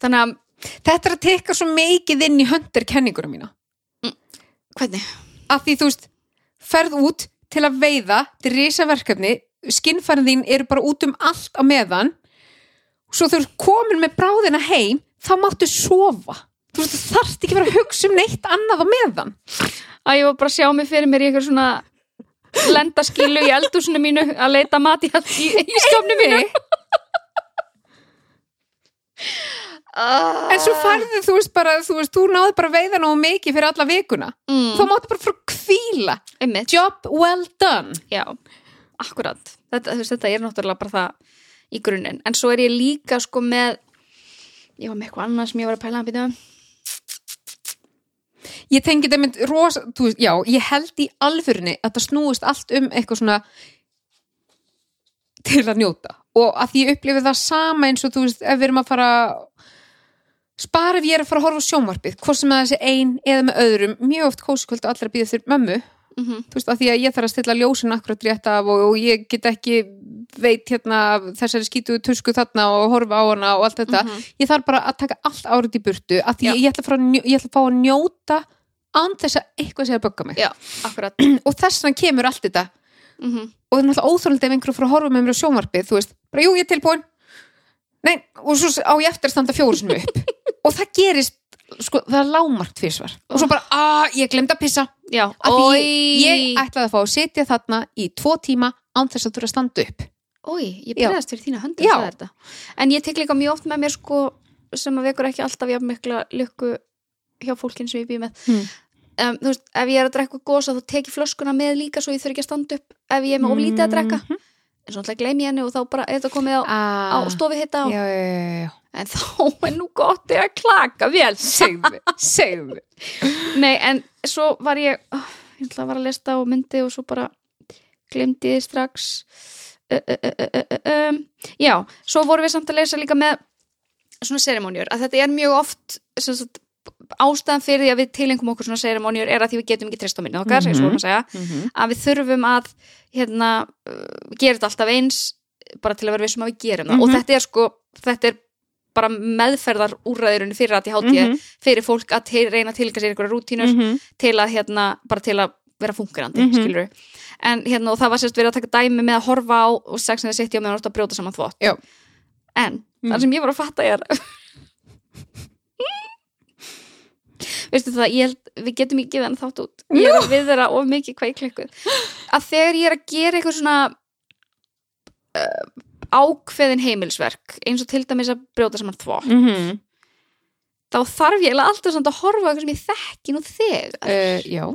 B: Þannig að,
C: þetta er að teka svo mikið inn í höndir kenninguna mína
B: hvernig?
C: að því þú veist, ferð út til að veiða, til risa verkefni skinnfærin þín eru bara út um allt á meðan svo þú ert komin með bráðina heim þá máttu sofa þú veist, þú þarft ekki að vera að hugsa um neitt annað á meðan
B: Að ég var bara að sjá mig fyrir mér í eitthvað svona lendaskilu í eldúsinu mínu að leita mat í, í, í skamni mínu.
C: en
B: Ah.
C: svo farðið, þú veist, bara þú, veist, þú náði bara að veiða nógu mikið fyrir alla vikuna þá
B: Mm,
C: máttu bara frá kvíla
B: einmitt,
C: job well done
B: já, akkurat. Þetta, þú veist, þetta er náttúrulega bara það í grunninn. En svo er ég líka sko með, ég var með eitthvað annað sem ég var að pæla að byrja um.
C: ég tengi þetta mynd rosa þú veist, já, ég held í alvörunni að það snúist allt um eitthvað svona til að njóta og að því ég upplifi það sama eins og þú veist, ef við erum að fara spara ef ég er að fara að horfa á sjónvarpið hvort sem það er þessi ein eða með öðrum mjög oft kósikvöld og allir að býða þurr mömmu
B: Mm
C: þú veist, að því að ég þarf að stilla ljósin akkurat rétt af og, og ég get ekki veit hérna af þessari skítu tusku þarna og horfa á hana og allt þetta
B: Mhm.
C: ég þarf bara að taka allt árið í burtu að því
B: Já.
C: ég ætla, að fara að njó, ég ætla að fá að njóta án þess að eitthvað sé að bögga mig
B: Já, akkurat.
C: [CLEARS THROAT] og þess vegna kemur allt þetta
B: Mm -hmm.
C: og það er náttúrulega óþólandi ef einhverjum frá að horfa með mér á sjónvarpið þú veist, bara jú, ég er tilbúin Nei, og svo á ég eftir að standa fjóru sinni
B: [LAUGHS]
C: upp og það gerist, sko, það er lágmarkt fyrsvar og svo bara, að, ég glemd að pissa
B: Já,
C: Af því ég,
B: Oj.
C: ég ætlaði að fá að sitja þarna í tvo tíma án þess að þú eru að standa upp
B: Ói, ég
C: Já.
B: byrðast fyrir þína höndu
C: Já.
B: En ég tek líka mjög oft með mér sko sem að vekur ekki alltaf jafn mikla lukku hjá fólkinn sem ég býð með
C: Hmm.
B: um, Þú veist, ef ég er að drekka gósa þá tek ég flöskuna með líka svo ég þurfi ekki að standa upp ef ég er með oflítið að drekka
C: mm
B: en svo alltaf gleymi ég henni og þá bara er þetta komið á, á
C: -hmm.
B: stofi hitta
C: já, já, já, já.
B: en þá er nú gott ég að klaka vel
C: [LAUGHS] segðu, segðu
B: Nei, en svo var ég oh, ég ætla að var að lesta á myndi og svo bara glemdi ég strax uh, uh, uh, uh, uh, um, Já, svo vorum við samt að lesa líka með svona seremónjur, að þetta er mjög oft sem sagt, ástæðan fyrir því að við tilengum okkur svona seremónjur er að því við getum ekki treyst á minni okkar, mm
C: Mhm.
B: -hmm. að segja að við þurfum að hérna, uh, gera þetta alltaf eins bara til að vera vissum að við gerum það
C: Mhm.
B: og þetta er sko, þetta er bara meðferðar úrræðurinn fyrir að ég hátíð
C: Mhm.
B: fyrir fólk að til, reyna að tilgja sér einhverja rútínur til að hérna, bara til að vera fungerandi, mm
C: Mhm.
B: en hérna, og það var sérst verið að taka dæmi með að horfa á og sex and the city og meðan orðið að brjóta saman þvott
C: Já.
B: en,
C: Mm.
B: þar sem ég var að fatta er veistu það, ég held við getum ekki gefið hann þátt út ég er að viðra of mikið hvað ég klikkuð að þegar ég er að gera eitthvað svona uh, ákveðin heimilsverk eins og til dæmis að brjóta saman þvott
C: Mhm.
B: þá þarf ég eiginlega alltaf samt að horfa á eitthvað sem ég þekki nú þegar
C: Eh. já,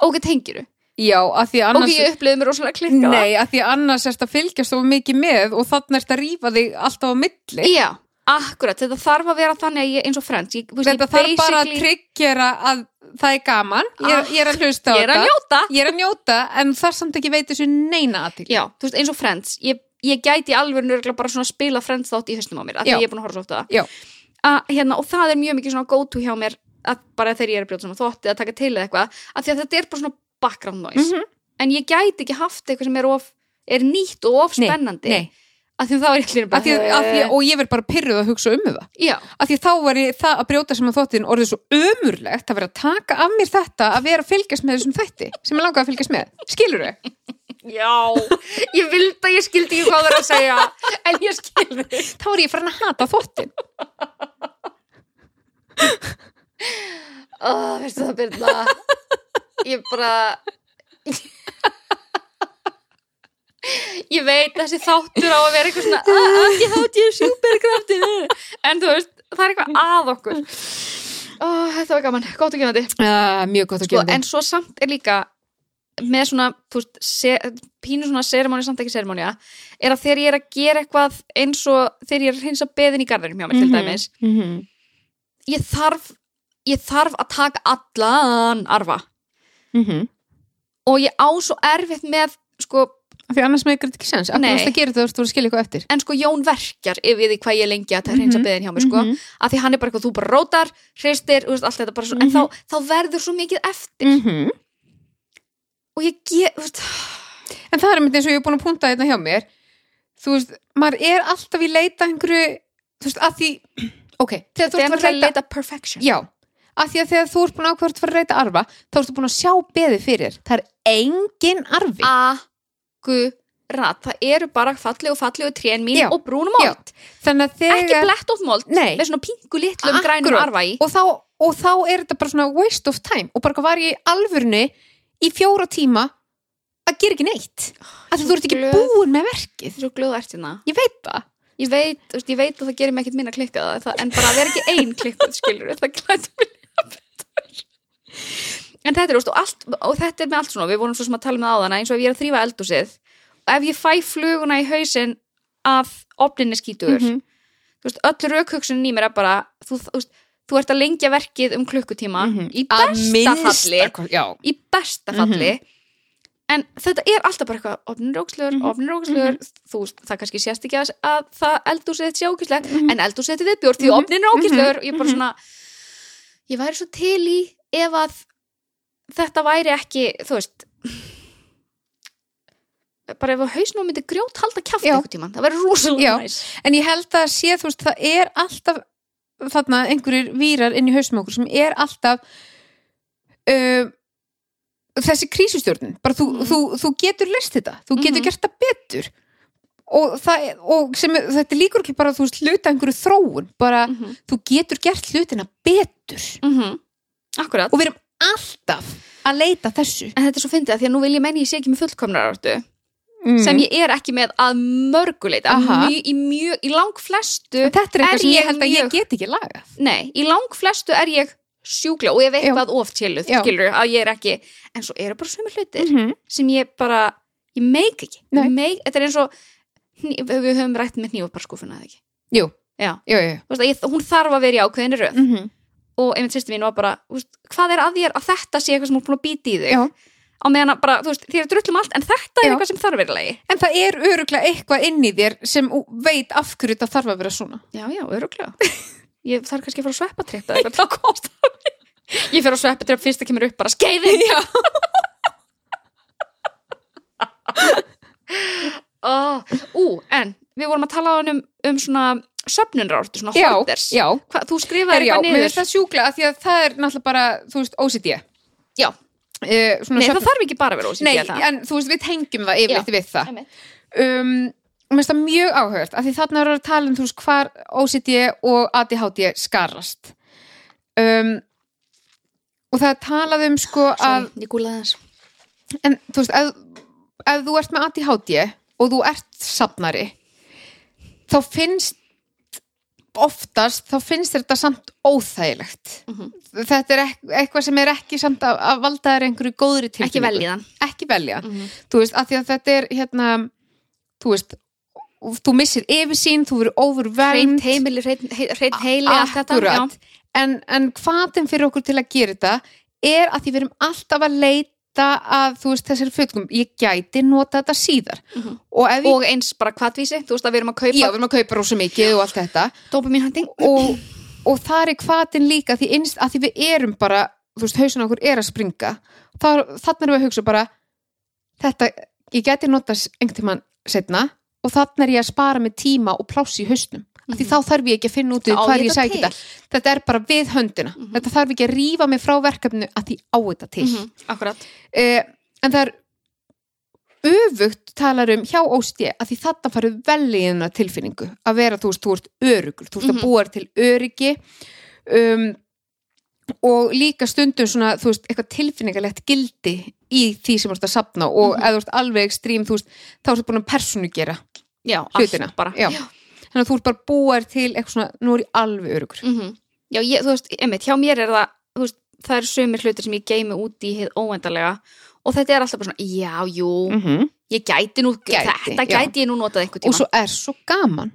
B: ok, tengiru,
C: já, að því
B: ok,
C: annars
B: ég upplifði mér rosalega klikkað
C: Nei, að því annars ert að fylgjast svo mikið með og þannig ert að rífa þig alltaf á milli
B: já, akkurat, þetta þarf að vera þannig að ég eins og frends, ég, þú veist,
C: Þetta
B: ég
C: þarf bara að
B: basically-
C: tryggjera að það er gaman Ég, er- Ah, ég er að hlusta á
B: ég er að
C: þetta
B: njóta
C: Ég er að njóta, en það samt ekki veit þessu neina aðtík
B: já, þú veist, eins og frends, ég, ég gæti alveg nörgulega bara svona að spila frends þátt í höstum á mér af því
C: Já.
B: ég er búin að horfa svo ofta á
C: Já.
B: það að, hérna, og það er mjög mikið svona go to hjá mér að bara þegar ég er að brjóta saman þótti að taka
C: Mhm.
B: til eða eitthvað, af því að þetta er bara svona background noise, en ég gæti ekki haft eitthvað sem er of er nýtt og of
C: Nei,
B: spennandi
C: nei.
B: að því þá er ég allir
C: Af því, af því, og ég verð bara pyrruð að hugsa um það
B: já,
C: af því þá var ég það að brjóta saman þóttin orðið svo ömurlegt að vera að taka af mér þetta að vera að fylgjast með þessum þætti sem ég langaði að fylgjast með, skilur þau?
B: já ég vildi að ég skildi ekki hvað það er að segja en ég skildi
C: þá er ég farin að hata þóttin
B: Ó, veistu það Birna Ég bara Ég veit þessi þáttur á að vera eitthvað svona "Ah, ah, Ég hát ég superkraftin En þú veist, það er eitthvað að okkur Ó, Þetta var gaman, gott og gefandi
C: uh, mjög gott að
B: sko,
C: gera
B: En svo samt er líka með svona, þú veist, se, pínu svona seremóni samt ekki seremónia er að þegar ég er að gera eitthvað eins og þegar ég er að hinsa beðin í garðinum hjá mér til dæmis
C: mm -hmm.
B: ég þarf ég þarf að taka allan arfa
C: Mm -hmm.
B: og ég á svo erfitt með sko,
C: því annars með ykkur ekki sens,
B: Nei.
C: akkur varst að gera þetta þú voru að skilja eitthvað eftir
B: en sko Jón verkjar yfir því hvað ég er lengi að það reynsa
C: Mhm.
B: beðin hjá mér sko,
C: Mhm.
B: af því hann er bara eitthvað þú bara rótar, hreistir, þú veist, allt þetta bara svo, en
C: Mhm.
B: þá, þá verður svo mikið eftir
C: Mhm.
B: og ég get, þú veist
C: en það er einmitt eins og ég er búin að punta þetta hjá mér þú veist, maður er alltaf í leita að einhverju, þú veist, að því ok, þegar þú
B: það er
C: ert að
B: náttúrulega
C: leita
B: leita perfection
C: já, að því að þegar þú ert búin að ákvært að fara að reyta arfa, þá ertu búin að sjá beði fyrir þér. það er engin arfi
B: akkurat, það eru bara fallegu fallegu trén mín
C: Já.
B: og brúnumold
C: þannig að þegar
B: ekki blætt of mold,
C: Nei.
B: með svona pingu litlum grænum
C: Akkurat.
B: arfa í
C: og þá, og þá er þetta bara svona waste of time og bara hvað var ég í alvörni í fjóra tíma að gera ekki neitt að
B: svo
C: þú ert ekki
B: glöð.
C: búin með verkið
B: svo glöðu ert hérna
C: ég veit það
B: ég veit, þú veist, ég veit að það gerir mig ekkert minna klikkað það, en bara að vera ekki ein klikkað skilur það glæður mig betur en þetta er, þú veist, og, allt, og þetta er með allt svona, við vorum svo sem að tala með áðana eins og ef ég er að þrýfa eldúsið og ef ég fæ fluguna í hausinn af opninni skítugur
C: Mhm.
B: þú veist, öll raukhugsunin í mér er bara þú, þú veist, þú ert að lengja verkið um klukkutíma í
C: Mhm. Að
B: besta
C: minnsta
B: falli
C: kosti- já,
B: í besta falli en þetta er alltaf bara eitthvað ofnir ógslur, mm -hmm.
C: Mhm.
B: ofnir ógslur þú, veist, það kannski sést ekki að, að það eldúsið þetta sé ógislegt, en eldúsið þetta viðbjörn því
C: Mhm.
B: ofnin er ógislur og ég er bara svona ég væri svo til í ef að þetta væri ekki þú veist bara ef að hausnum myndi grjót halda kjátt
C: Já.
B: einhvern tímann, það væri rosalega
C: Já.
B: næs
C: en ég held að sé þú veist það er alltaf þarna einhverjir vírar inn í hausum okkur sem er alltaf um, þessi krísustjórnin bara þú,
B: Mhm.
C: þú, þú getur list þetta þú getur
B: Mhm.
C: gert það betur og, það, er- og sem, er- þetta er líkur ekki bara að þú veist hluta einhverju þróun bara
B: mm -hmm.
C: þú getur gert hlutina betur
B: Mhm. akkurat
C: og við erum alltaf að leita þessu
B: en þetta er svo fyndið að því að nú vil ég menni ég sé ekki með fullkomnar áttu
C: Mm.
B: sem ég er ekki með að mörguleit
C: Aha.
B: mjö, í, mjö, í lang flestu
C: En þetta
B: Er
C: er eitthvað sem
B: ég
C: ég held að
B: mjög-
C: ég get ekki lagað
B: nei, í lang flestu er ég sjúkla og ég veit
C: Já.
B: hvað of tiluð
C: Já.
B: skilur að ég er ekki, en svo eru bara sömu hlutir
C: -hmm.
B: sem ég bara, ég meik ekki
C: Nei.
B: meik, þetta er eins og hní- við höfum rætt með hnífabarskúfuna eða ekki
C: Jú,
B: Já.
C: jú, jú
B: Þú veist, að ég, hún þarf að vera í ákveðinni röð
C: mm -hmm.
B: og einmitt sýstir mín var bara, þú veist, hvað er að þér að þetta sé eitthvað sem hún er búin að býta í þig
C: Já.
B: á meðan að bara, þú veist, þér er drullum allt en þetta er
C: Já.
B: eitthvað sem þarf veriðlegi
C: En það er öruglega eitthvað inn í þér sem ú- veit af hverju þetta þarf að vera svona
B: Já, já, öruglega. [LAUGHS] Ég þarf kannski að fara á sveppatripp eða eitthvað til að kosta mig. Ég fer á sveppatripp fyrst að kemur upp bara skeiði. [LAUGHS] Já. ú, en við vorum að tala á hann um, um svona söfnunráttu, svona
C: Já,
B: holders.
C: já
B: Hva, þú skrifaði
C: Herjá,
B: eitthvað
C: mér
B: niður.
C: finnst það sjúkla að því að það er náttúrulega bara, þú veist, OCD
B: Já.
C: uh,
B: Nei, það þarf ekki bara að vera ósýnt
C: Eh, Nei,
B: ég það.
C: en þú veist, við tengjum það yfirleitt við það
B: Einmitt.
C: um, Mér finnst það mjög áhugast að því þarna er að tala um, þú veist, hvar OCD og ADHD skarast um, og það er talað um sko að,
B: Sorry, ég gúlaði þess.
C: en þú veist ef, ef þú ert með ADHD og þú ert safnari þá finnst oftast, þá finnst þér þetta samt óþægilegt
B: Mhm.
C: þetta er ekk- eitthvað sem er ekki samt að, að valda þér einhverju góðri tilfinningu
B: Ekki veljiðan.
C: ekki velja
B: Mhm.
C: þú veist, af því að þetta er hérna, þú veist þú missir yfirsýn, þú verður
B: Hreint
C: overwhelmed
B: heimili, hreint he- hreint heili, allt þetta.
C: Akkúrat. en, en hvaðin fyrir okkur til að gera þetta er að því við erum alltaf að leita að þú veist þessari fullkum ég gæti nota þetta síðar
B: Mhm.
C: og
B: Já.
C: ef ég,
B: Og eins bara kvatvísi, þú veist að við erum að kaupa
C: já við erum að kaupa rosa mikið og allt þetta
B: dopaminhætting.
C: og, og þar er hvaðin líka því innst að því við erum bara þú veist hausin okkur er að springa þar, þannig erum við að hugsa bara þetta ég geti notast einhvern tímann setna og þannig er ég að spara með tíma og pláss í hausnum af því þá þarf ég ekki að finna út
B: Mhm. Þá á
C: hvað
B: ég
C: ég
B: þetta
C: sækja
B: til.
C: þetta þetta er bara við höndina
B: Mhm.
C: þetta þarf ekki að rífa mig frá verkefnu að því á þetta til
B: Mhm, Akkurat
C: eh, en það er öfugt talar um hjá óstið að því þarna farið vel í hennar tilfinningu að vera, þú veist, þú ert örugur þú ert
B: Mhm.
C: að búa þér til öryggi um, og líka stundum svona, þú veist, eitthvað tilfinningalegt gildi í því sem þú ert að sapna og
B: Mhm.
C: ef þú ert alveg ekstrím, þú veist þá ertu búin að personugera
B: Já,
C: hlutina
B: allt bara
C: Já. þannig að þú ert bara búar til eitthvað svona, nú er ég alveg örugur
B: Mhm. Já, ég, þú veist, einmitt, hjá mér er það þú veist, það eru sömur hlutir sem ég geimi út í hið óendalega og þetta er alltaf bara svona, já, jú
C: mm -hmm.
B: ég gæti nú,
C: Gæti,
B: þetta
C: já.
B: gæti ég nú notað einhvern tíma Mhm.
C: og svo er svo gaman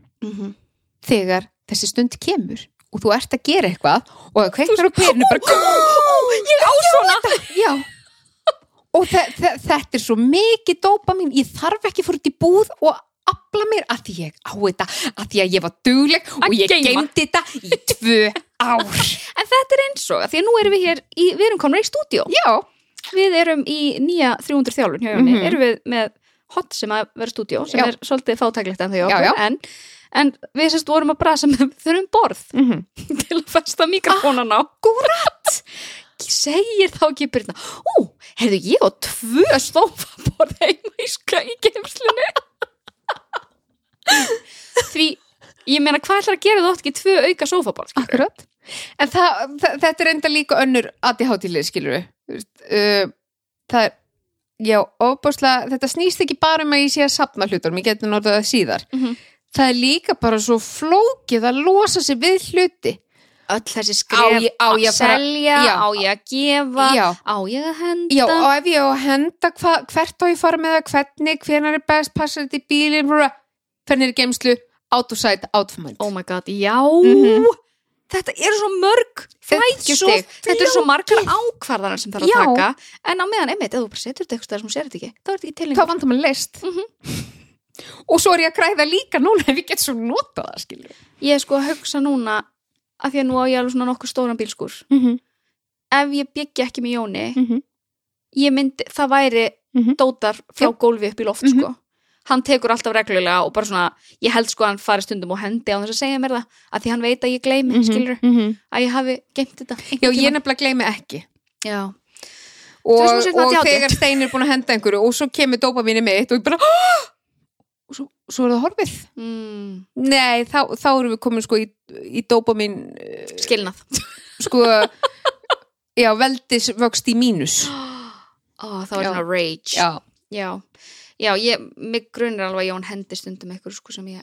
C: þegar þessi stund kemur og þú ert að gera eitthvað og það kveiknar á perinu bara
B: Ég á svona
C: já og þe þe þetta er svo mikið dópa mín, ég þarf ekki fór út í búð og afla mér að því ég á þetta að því að ég var dugleg og
B: Að
C: ég
B: geyma.
C: geymdi þetta í tvö
B: [LAUGHS]
C: ár
B: En þetta er eins og, af því að nú erum við hér í, við erum komin í stúdíó
C: já,
B: Við erum í nýja 300 þjálfun hjá Jóni
C: Mhm.
B: Erum við með hot sem að vera stúdíó sem
C: Já.
B: er svolítið fátæklegt en það hjá
C: Já, já.
B: okkur en, en við sérst vorum að brasa með þurfum borð
C: mm -hmm.
B: til að festa mikrofónan á Akkurat segir þá ekki Birna Ú, heyrðu ég á tvö stófaborð heima í skæ í geimslinu Því, ég meina hvað ætlar að gera þú átt ekki tvö auka sófaborð skilurðu?
C: akkurat en það, það, þetta er enda líka önnur ADHD-lið skilur við uh, það er já, ofbáslega, þetta snýst ekki bara um að ég sé að sapna hlutunum, ég geti notað það síðar
B: Mhm.
C: það er líka bara svo flókið að losa sig við hluti
B: Öll þessi
C: Á
B: skref
C: ég- á
B: að
C: ég að fara-
B: selja,
C: Já.
B: á ég að gefa
C: já,
B: á ég að henda
C: Já, og ef ég á að henda hva, hvert á ég fara með það, hvernig, hvenær er best, passar þetta í bílinn, brr, hvernig er geimslu, out of sight, out of mind.
B: Oh my god, já
C: Mhm.
B: Þetta eru svo mörg
C: Þetta er svo
B: flækjustig Þetta eru svo margar ákvarðanar sem þarf að
C: Já.
B: taka En á meðan, einmitt, ef þú bara setur þetta eitthvað sem þú sér þetta ekki, þá er þetta ekki til
C: Þá vantar maður list.
B: Mhm.
C: [LAUGHS] og svo er ég að græða líka núna ef ég get svo notað það, skilur.
B: Ég er sko að hugsa núna af því að nú á ég alveg svona nokkuð stóran bílskur
C: Mm -hmm,
B: ef ég byggja ekki með Jóni
C: mm -hmm,
B: ég myndi, það væri
C: Mhm.
B: dótar frá
C: Já.
B: gólfi upp í loft
C: Mhm.
B: sko hann tekur alltaf reglulega og bara svona ég held sko að hann fari stundum og hendi á þess að segja mér það að því hann veit að ég gleymi, skilur að ég hafi geimt mhm. þetta
C: Já, ég nefnilega gleymi ekki.
B: Já.
C: Og,
B: Svo er svona seinna
C: og
B: ADHD.
C: þegar Stein er búin að henda einhverju og svo kemur dópa mínu mitt og ég bara, [GASPS] og svo, svo er það
B: [GASPS]
C: horfið.
B: Mm,
C: Nei, þá, þá erum við komin sko í, í eh, dópa mín
B: skilnað
C: sko já, veldisvöxt í mínus
B: Ó, það var
C: Já.
B: svona rage
C: já,
B: já, já ég, mig grunir alveg að Jón hendi stundum eitthvað sko sem ég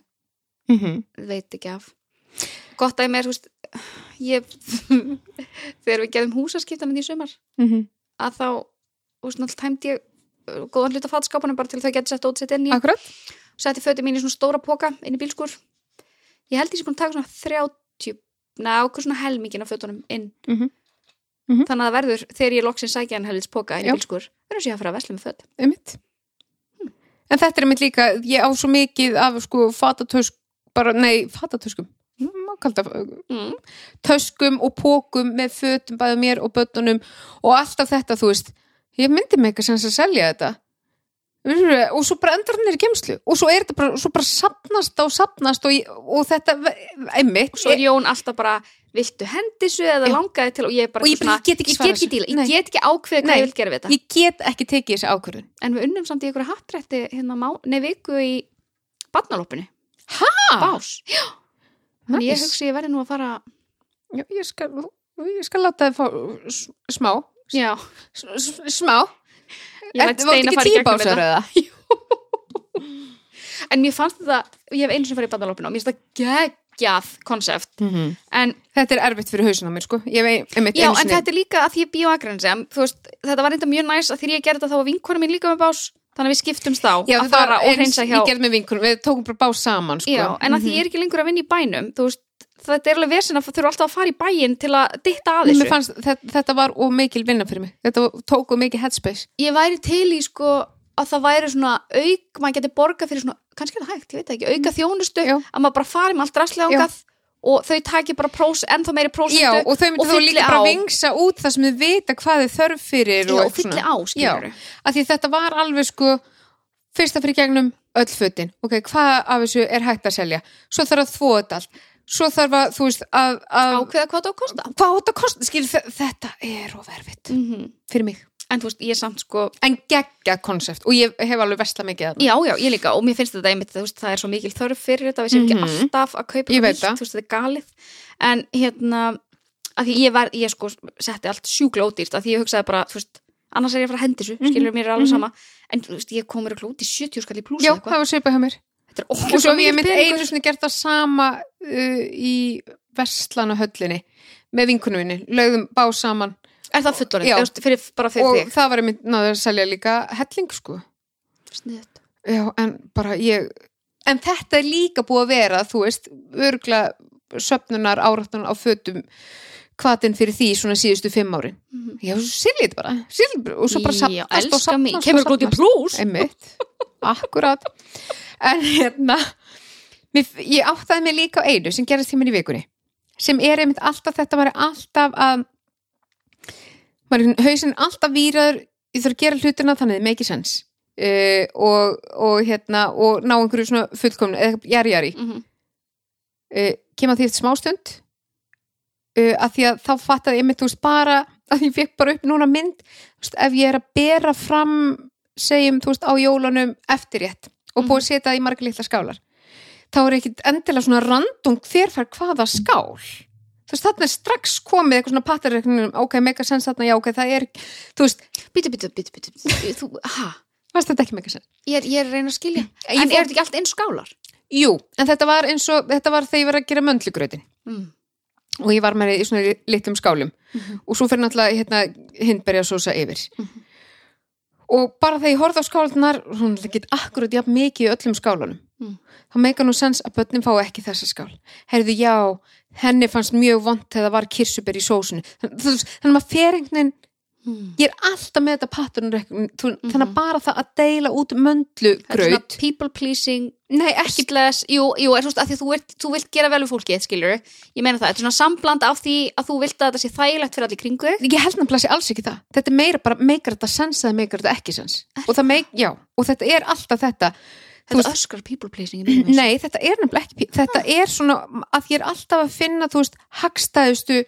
C: mm
B: Mhm,
C: -hmm.
B: veit ekki af gott að ég mér, þú veist ég, [LAUGHS] þegar við gerðum húsaskipta með því sumar, að þá þú veist, náttúrulega tæmdi ég uh, góðan hluta fatskapunum bara til þau geti sett út sett inn í,
C: akkurat
B: setti fötum mín í svona stóra póka inn í bílskur, ég held ég sem búin að taka svona 30, neða okkur svona helmingin af fötunum inn
C: Mhm. Mhm.
B: þannig að það verður, þegar ég loksin sækja hann helvits póka inn í
C: Já.
B: bílskur, verður sér að fara að vesla með föt
C: einmitt. en þetta er mitt líka ég á svo mikið af sko fatatösk bara, nei, fatatöskum Mm, má kalla það,
B: mm.
C: töskum og pókum með fötum bæði mér og bötunum og alltaf þetta, þú veist ég myndi mig eitthvað sem að selja þetta og svo bara endar hann er í kemslu og svo er þetta bara, svo bara sapnast og sapnast og, ég- og þetta einmitt,
B: svo er Jón alltaf bara viltu hendissu eða
C: Já.
B: langaði til og ég er bara
C: Og ég
B: eitthvað
C: bara, ég get
B: ég
C: ekki
B: get
C: svarað
B: ekki
C: þessu.
B: díla,
C: Nei.
B: ég get ekki ákveðið
C: Nei.
B: hvað ég vil gera við þetta
C: ég get ekki tekið þessi ákvörðun
B: en við unnum samt í ykkur hattrætti hérna má, nei viku í barnalópinu
C: Ha?
B: bás, já en ég
C: Nice.
B: hugsi ég verði nú að fara
C: Já, ég skal, ég skal láta þið fá s- smá,
B: já,
C: s- s- smá.
B: ég læt
C: Ertu- varstu
B: steina
C: ekki
B: fara í gegnum
C: tíbásar
B: þetta
C: eða?
B: en mér fannst þetta, ég hef einu sem farið í barnalópinu og mér finnst þetta geggjað konsept en
C: Þetta er erfitt fyrir hausinn á mér, sko. Ég veit, einmitt
B: Mhm. Já,
C: einu
B: en
C: sinni.
B: þetta er líka að því ég býja á Akranesi en þú veist, þetta var reynda mjög næs að þegar ég gerði þetta þá var vinkona mín líka með bás þannig að við skiptumst þá að
C: Já, þetta var
B: fara og
C: eins-
B: hreinsa hjá
C: Ég gerði með vinkunum, við tókum bara bá saman, sko.
B: Já, en að því ég er ekki lengur að vinna í bænum þú veist, þetta er alveg vesen að þurfa alltaf að fara í bæin til að ditta að
C: Mér
B: þessu
C: fannst, þetta, þetta var og mikil vinna fyrir mig. Þetta tóku mikið headspace.
B: Ég væri til í sko að það væri svona auk, maður geti borgað fyrir svona kannski er það hægt, ég veit það ekki, auka þjónustu
C: Já.
B: að maður bara fari með allt rastlega ángað og þau taki bara prós, ennþá meiri prósentu
C: Já, og þau myndu
B: og
C: þá
B: fylli
C: líka bara
B: á.
C: vingsa út það sem þau vita hvað þau þörf fyrir
B: Já,
C: og
B: og
C: eitthvað
B: fylli
C: svona.
B: á, skilur
C: af því þetta var alveg sko fyrst að fyrir gegnum öll fötin ok, hvað af þessu er hægt að selja svo þarf að þvó þetta allt svo þarf að, þú veist, að, að
B: ákveða hvað það á að kosta
C: hvað átt að kosta, skil, þe- þetta er of erfitt Mhm, fyrir mig,
B: en þú veist, ég samt sko
C: en geggjað konsept og ég hef alveg vesla mikið að
B: já, já, ég líka, og mér finnst þetta einmitt þú veist, það er svo mikil þörf fyrir þetta, við séum
C: Mhm.
B: ekki alltaf að kaupa
C: Ég
B: eitthvað
C: veit
B: nýtt,
C: það.
B: þú veist, þetta er galið en hérna, að því ég var ég sko setti allt sjúklótýrt að því ég hugsaði bara, þú veist, annars er ég að fara að hendi þessu
C: Mhm.
B: skilur mér er alveg sama, en þú veist, ég komur að klóti 70 skall í plús
C: já,
B: eða
C: það var svipað hjá mér
B: þetta er
C: og svo
B: ókvæmst
C: hef ég mynd einu sinni gert það sama uh, í Vestlanahöllinni með vinkunum minni, lögðum bá saman
B: er það fullorinn,
C: Já.
B: Eða, þú veist, fyrir, bara fyrir
C: og
B: þig
C: það var einmitt náður að selja líka helling sko
B: Sniðugt.
C: já, en bara ég en þetta er líka búið að vera, þú veist örgla söpnunar áratunar á fötum kvatin fyrir því svona síðustu fimm árin
B: Mhm.
C: já, svo silja þetta bara, silja bara og svo bara
B: Já,
C: safnast og
B: elska mig,
C: safnast
B: kemur Mhm.
C: og
B: klóti
C: safnast
B: plús
C: einmitt, akkurat en hérna mér, ég áttaði mig líka á einu sem gerist hjá mér í vikunni sem er einmitt alltaf þetta var alltaf að maður er hausinn alltaf výraður ég þarf að gera hlutina þannig, make sense uh, og, og hérna og ná einhverju svona fullkomnu eða jari jari,
B: Mhm.
C: uh, kem að því eftir smástund uh, að því að þá fattaði einmitt þú veist bara [LAUGHS] að ég fekk bara upp núna mynd þú veist, ef ég er að bera fram segjum þú veist á jólunum eftirrétt og
B: Mhm.
C: búið að setja það í marga litla skálar þá er ekkit endilega svona randung hver fær hvaða skál þú veist þarna er strax komið eitthvað svona pattarreiknum ok, mega sens þarna, já ok, það er þú veist,
B: Bíddu, bíddu, bíddu, bíddu, bíddu. Þú- ha?
C: varst þetta ekki mega sens
B: ég er ég er að reyna að skilja
C: Ég
B: en
C: fór-
B: er þetta ekki allt eins skálar?
C: Jú, en þetta var eins og þetta var þegar ég var að gera möndlugröðin
B: Mm.
C: og ég var með í svona litlum skálum
B: Mhm.
C: og svo fyrir náttúrulega hérna, hindberja sósa yfir og bara þegar ég horfði á skálunar hún get akkurat jafn mikið í öllum skálunum
B: Mm.
C: þá meika nú sens að börnin fá ekki þessa skál heyrðu já, henni fannst mjög vond þegar það var kirsuber í sósinu þannig, þú veist, þannig að maður fer einhvern veginn
B: Mm. Mhm.
C: ég er alltaf með þetta pattern mm -hmm. þannig að bara það að deila út möndlugröð
B: people pleasing
C: nei, ekki
B: skilles, jú, jú, er svona að því að þú, ert, þú vilt gera vel við fólkið, skilur ég meina það, þetta er svona sambland af því að þú vilt að þetta sé þægilegt fyrir allir kringu þig.
C: ég held nefnilega sé alls ekki það þetta er meira bara, meikar þetta sens eða meikar þetta ekki sens og, það meik, já, og þetta er alltaf þetta Þú
B: þetta
C: veist-
B: öskrar people pleasing í mínum.
C: nei, þetta er nefnilega ekki pí- þetta er svona að ég er alltaf að finna þú veist, hagstæðustu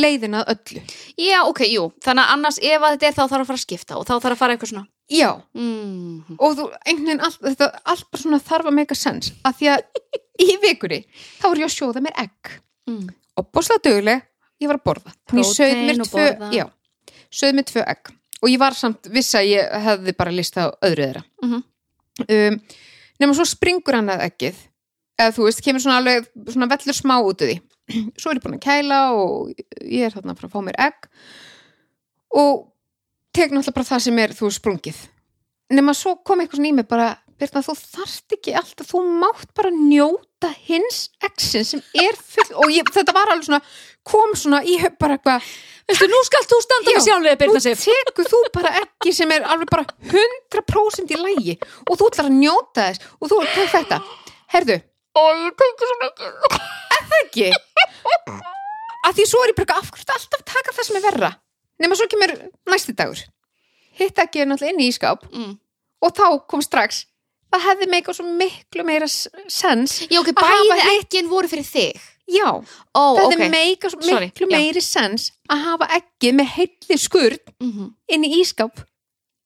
C: leiðina að öllu
B: já, ok, jú, þannig að annars ef að þetta er þá þarf að fara að skipta og þá þarf að fara eitthvað svona
C: já,
B: mm.
C: og þú einhvern veginn allt, þetta, allt bara svona þarf að meika sens að því að í vikunni þá var ég að sjóða mér egg
B: Mm.
C: og bóðslega döguleg, ég var að borða Þannig ég sögð
B: Prótein
C: mér
B: og
C: tvö,
B: borða.
C: já, sögð mér tvö egg og ég var samt viss að ég hefði bara list á öðru þeirra
B: Mhm.
C: um, nema svo springur hann að eggið eða þú veist, kemur svona alveg svona vellur smá út af því svo er ég búin að kæla og ég er þarna að fara að fá mér egg og tek náttúrulega bara það sem er þú veist, sprungið nema svo kom eitthvað svona í mig bara Birna, þú þarft ekki alltaf, þú mátt bara njóta hins eksin sem er full og ég, þetta var alveg svona kom svona í höf bara eitthvað
B: veistu, nú skalt þú standa
C: Já,
B: með sjálflega
C: nú
B: Birna Sif
C: tekur þú bara ekki sem er alveg bara 100% í lægi og þú ætlar að njóta þess og þú tek þetta, herðu
B: og ég tengi svo mikið
C: ekki að því svo er ég bara eitthvað, af hverju ertu alltaf að taka það sem er verra nema svo kemur næsti dagur hitt ekki er náttúrulega inni í skáp
B: mm.
C: og þá kom strax það hefði mig eitthvað svo miklu meira s- sens
B: já, ok,
C: Að hafa
B: bæði ekkin voru fyrir þig
C: já,
B: ó,
C: það
B: ok
C: hefði meika, svo
B: Sorry,
C: miklu
B: já.
C: meiri sens að hafa ekki með heilli skurð
B: Mhm.
C: inn í ískáp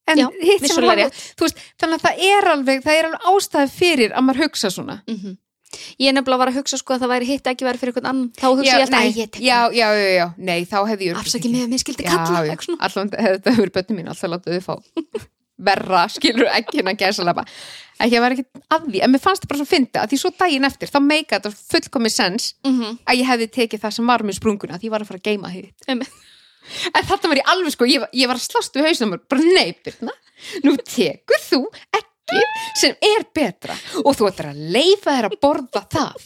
C: en
B: Já,
C: hitt sem
B: vissulega
C: var þú veist, þannig að það er alveg það er alveg ástæði fyrir að maður hugsa svona
B: Mhm. Ég nefnilega var að hugsa sko að það væri hitt ekki væri fyrir einhvern annan þá hugsa ég alltaf
C: nei,
B: að ég tek
C: já, já, já, já, nei, þá hefði ég
B: afsaki mig að mér skildi kalla
C: Já, já,
B: eitthvað svona.
C: allan [LAUGHS] hefði þetta verið bönni mín alltaf látið þau fá [LAUGHS] verra, skilur ekki hennan gæsalapa ekki að vera ekki að því, en mér fannst það bara svo fyndi að því svo daginn eftir, þá meika þetta fullkomi sens
B: Mhm.
C: að ég hefði tekið það sem var með sprunguna því ég var að fara að geima hitt
B: Einmitt.
C: en þetta var ég alveg sko, ég, var- ég var að slast við hausnum bara nei, Birna, nú tekur þú ekki sem er betra og þú ætlar að leifa þér að borða það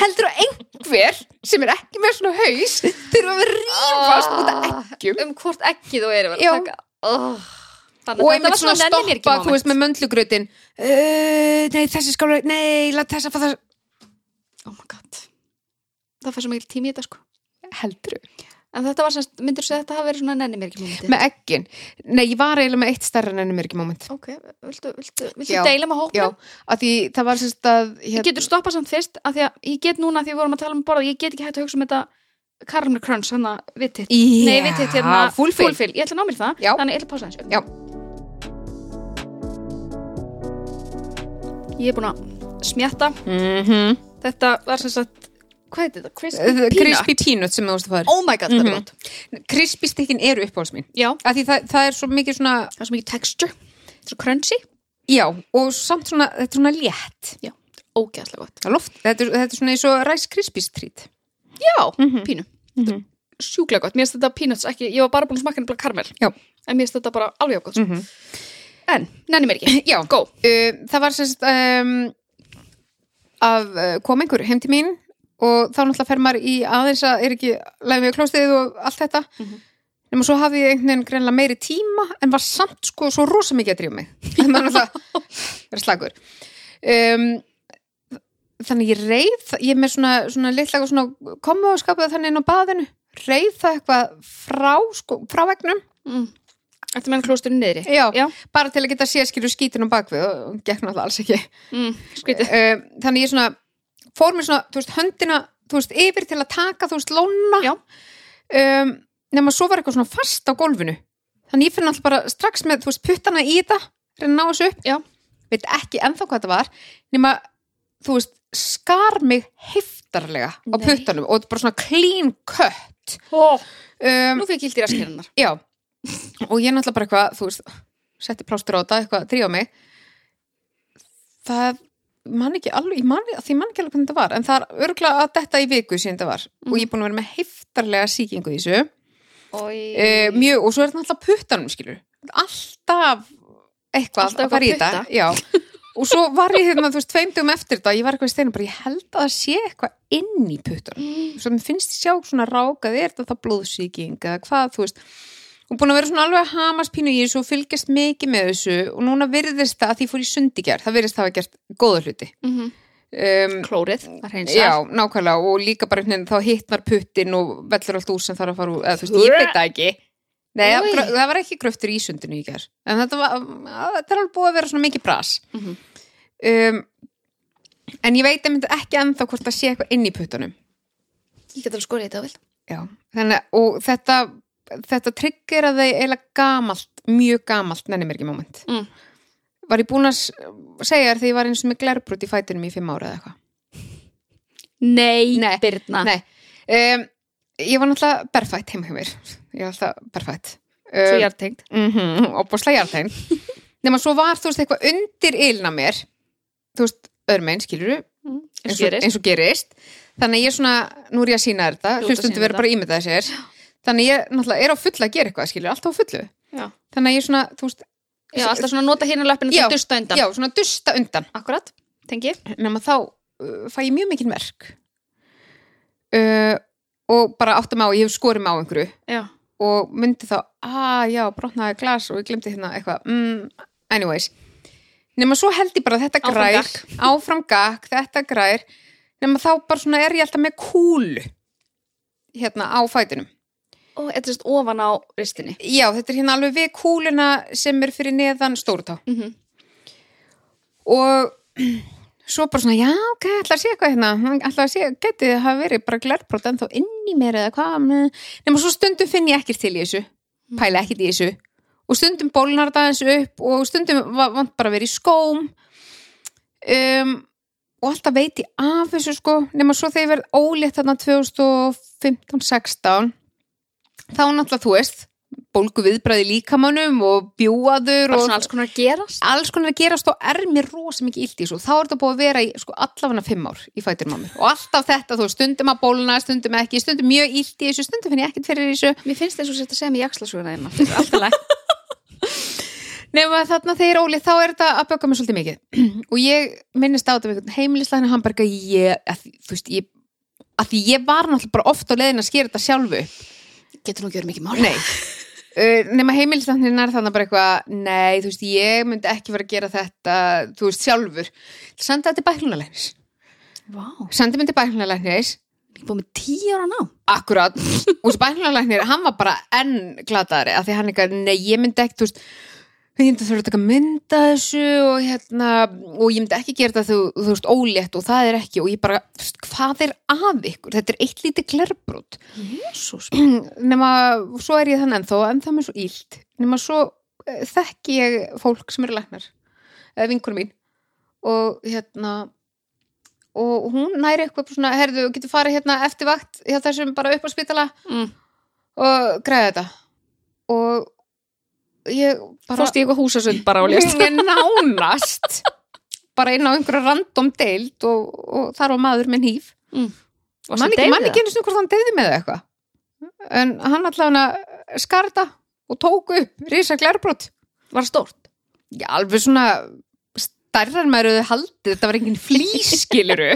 C: heldur að einhver sem er ekki með svona haus þurfa að rífast út af ekkjum
B: um hvort ekki þú eru vel
C: Já.
B: að taka oh. Þannig að
C: og
B: þetta
C: einmitt
B: var
C: svona
B: svona nenni mér
C: stoppa,
B: ekki
C: þú
B: moment
C: veist, með möndlugrötin uh, nei, þessi skála, nei, lát þess að fá það
B: Oh my god Það fær svo mikil tími í þetta sko
C: heldur
B: En þetta var semst, myndir þú að þetta hafi verið svona nenni mér ekki mómenti?
C: með eggin nei, ég var eiginlega með eitt stærra en ennum er ekki moment
B: Ok, viltu, viltu, viltu
C: Já.
B: deila með hópnum?
C: já, að því það var sérst að
B: Ég getur stoppað samt fyrst, af því að ég get núna, af því að við vorum að tala um borða, ég get ekki hægt að hugsa um þetta Karmel Crunch, hann að vitið.
C: yeah.
B: Nei, vitið hérna,
C: fullfill
B: fullfill. Ég ætla að ná mér í það,
C: Já.
B: þannig ég ætla að pása eins.
C: Já.
B: Ég er búin að smjatta,
C: mm -hmm.
B: þetta var sem sagt, hvað heit þetta? Crispy peanut.
C: crispy peanut sem þú veist að fara
B: Oh my god, þetta er gott.
C: crispy stikkin eru uppáhalds mín
B: Já,
C: að því það, það er svo mikið svona
B: það er svo mikið texture, þetta er svo crunchy,
C: já, og samt svona, þetta er svona létt
B: ógæðslega gott.
C: Það er loft, þetta, er- þetta er svona eins og Rice Krispies treat
B: Já,
C: Mhm.
B: pínu.
C: Mhm.
B: Sjúklega gott, mér finnst þetta peanuts ekki, ég var bara búin að smakka nefnilega karmel.
C: Já.
B: En mér finnst þetta bara alveg jafn gott.
C: mm -hmm.
B: En, nenni mér [LAUGHS] ekki.
C: Já,
B: Go.
C: uh, það var sérst um, að uh, kom einhver heim til mín og þá náttúrulega fer maður í aðeins að er ekki lægum við klóstið og allt þetta
B: Mhm.
C: nema svo hafði ég einhvern veginn greinlega meiri tíma en var samt sko svo rosa mikið að drífa mig [LAUGHS] að maður náttúrulega er slagur um, þannig ég reið ég er með svona, svona litlega svona komu og skapaði þannig inn á baðinu reið það eitthvað frá sko, frá vegnum
B: Mm. Þetta menn klósturinn niðri.
C: Já,
B: Já.
C: bara til að geta séð skilur skítin á bakvið og og gekk náttúrulega alls ekki
B: Mm, skrítið.
C: Eh, þannig ég svona fór mér svona, þú veist, höndina þú veist, yfir til að taka, þú veist, lóna
B: Já.
C: um, nema svo var eitthvað svona fast á gólfinu þannig ég finn alltaf bara strax með, þú veist, puttana í þetta reyna að ná þessu upp
B: Já.
C: veit ekki ennþá hvað þetta var nema, þú veist, skar mig heftarlega á
B: Nei.
C: puttanum og þetta bara svona clean cut
B: [LAUGHS] Oh.
C: um,
B: Nú fyrir ég í raskirinnar.
C: Já, og ég náttúrulega bara eitthvað, þú veist, setti plástur á þetta, eitthvað, drífa mig. Það, ég man ekki alveg, ég man, því ég man ekki alveg hvernig þetta var, en það er örgulega að detta í viku síðan þetta var. Og ég er búin að vera með heiftarlega sýkingu í þessu.
B: Eh,
C: E, mjög, og svo er þetta náttúrulega puttanum, skilur. Alltaf eitthvað
B: Alltaf
C: að fara í
B: eitthvað
C: þetta. Já, og svo var ég hérna, þú veist, tveimdum eftir þetta, ég var eitthvað í steinu, bara ég held að það sé eitthvað inn í puttanum svo mér finnst ég sjá svona rákað er þetta það blóðsýking eða hvað, þú veist og búin að vera svona alveg að hamast pínu í þessu og fylgjast mikið með þessu og núna virðist það að því ég fór í sundigjær, það virðist það að gert góða hluti
B: Mhm.
C: um,
B: Klórið, það hreins
C: já, nákvæmlega og líka bara einhvern veginn þá hitt maður puttin og vellur allt úr sem þarf að fara úr eða þú veist, ég veit það ekki Nei, það,
B: Új.
C: grö- það var ekki gröftur í sundinu í gær en þetta var, að- þetta er alveg búið að vera svona mikið bras
B: Mhm.
C: um, en ég veit einmitt ekki ennþá hvort það sé eitthvað inn í puttunum
B: Ég get alveg skorið þetta vel.
C: Já, þannig að og þetta, þetta tryggir að það er eiginlega gamalt, mjög gamalt nenni mér ekki moment.
B: Mm.
C: Var ég búin að s- segja þér þegar ég var eins og með glerbrot í fætinum í fimm ára eða eitthvað?
B: Nei,
C: Nei.
B: Birna.
C: Nei, um, ég var náttúrulega berfætt heima hjá mér. Ég var alltaf berfætt.
B: Svo ég
C: Um,
B: er tengt.
C: mm -hmm, og búslega jarðtegn nema svo var þú veist eitthvað undir ilna mér þú veist, örmein, skilur du
B: eins og gerist.
C: eins og gerist þannig að ég svona, nú er ég að sína
B: Þú
C: þetta
B: ert að
C: hlustundu
B: sýna
C: verður bara að ímynda sér þannig að ég náttúrulega er á fullu að gera eitthvað skilur, alltaf á fullu
B: Já.
C: þannig að ég svona, þú veist,
B: Já, alltaf svona nota hérna löpina til
C: Já.
B: að dusta undan.
C: já, svona dusta undan
B: Akkurat, tengi.
C: nema þá uh, fæ ég mjög mikil merk uh, og bara átta mig á, ég hef skorið mig á einhverju
B: Já.
C: og myndi þá, að já, brotnaði glas og ég glemdi hérna eitthvað mm, anyways, nema svo held ég bara að þetta
B: Áfram
C: grær,
B: gakk.
C: áfram gakk þetta grær, nema þá bara svona er ég alltaf með kúlu hérna á fætinum
B: Og þetta er sérst ofan á ristinni.
C: já, þetta er hérna alveg við kúluna sem er fyrir neðan stórtá
B: Mm -hmm.
C: og svo bara svona, já, ok, ætla að sé eitthvað hérna ætla að sé, geti það hafa verið bara glerbrot ennþá inn í mér eða hvað nema svo stundum finn ég ekkert til í þessu
B: Mm.
C: pæla ekkert í þessu og stundum bólnar það eins upp og stundum va- vant bara að vera í skóm um, og alltaf veit ég af þessu sko, nema svo þegar ég verð ólétt þarna 2015-16 þá náttúrulega þú veist bólgu viðbræði líkamannum og bjúaður
B: Bara
C: og
B: svona alls konar að gerast.
C: alls konar að gerast og er mér rosa mikið illt í þessu og þá er þetta búið að vera í sko, allafana fimm ár í fæturum á mér og alltaf þetta, þú veist, stundum að bólna stundum ekki, stundum mjög illt í þessu stundum finn ég ekkert fyrir þessu
B: Mér finnst eins og sérst að segja mér jakslasuguna [LAUGHS] þeim aftur. Alltaf læg.
C: nema þarna þegar ég er ólið þá er þetta að bögga mér svolítið mikið [CLEARS THROAT] og ég minnist á þetta við einhvern heimilislæðin hann bara ekki ég, að, því- þú veist, ég að því ég var náttúrulega bara oft á leiðin að skera þetta sjálfu
B: Getur nú ekki verið mikið mál.
C: Nei [LAUGHS] Uh, nema heimilislæknirinn er þannig bara eitthvað nei, þú veist, ég myndi ekki vera að gera þetta þú veist, sjálfur senda þetta til bæklunalegnis
B: Vá.
C: sendi mér til bæknulegnis
A: Ég er búin með tíu ára ná.
C: Akkurat, og spænlalæknir, hann var bara enn glataðari, af því hann eitthvað, nei, ég myndi ekki, þú veist, ég myndi þurfa að taka mynda þessu og hérna, og ég myndi ekki gera þetta þú, þú veist, ólétt og það er ekki, og ég bara, þú veist, hvað er að ykkur? Þetta er eitt lítið glerbrot.
A: Jésús.
C: Nema, svo er ég þann ennþá, en það með svo ílt. Nema, svo eh, þekki ég fólk sem eru læknar, eða vinkunum mín, og hérna, og hún næri eitthvað svona, herðu, getur farið hérna eftir vakt hjá þessum bara upp á spítala
B: Mm.
C: og græða þetta og ég bara
B: Fórst ég eitthvað húsasund bara og lést.
C: ég nánast [LAUGHS] bara inn á einhverja random deild og, og þar var maður með hýf
B: Og
C: mann
B: svo
C: ekki,
B: deyfði
C: man
B: það.
C: ekki einu sinni hvort hann deyði með það eitthvað en hann allavega skarta og tók upp risa glerbrot
B: Var stórt.
C: já, alveg svona stærrar maður hefði haldið, þetta var engin
B: [LAUGHS]
C: flýskiluru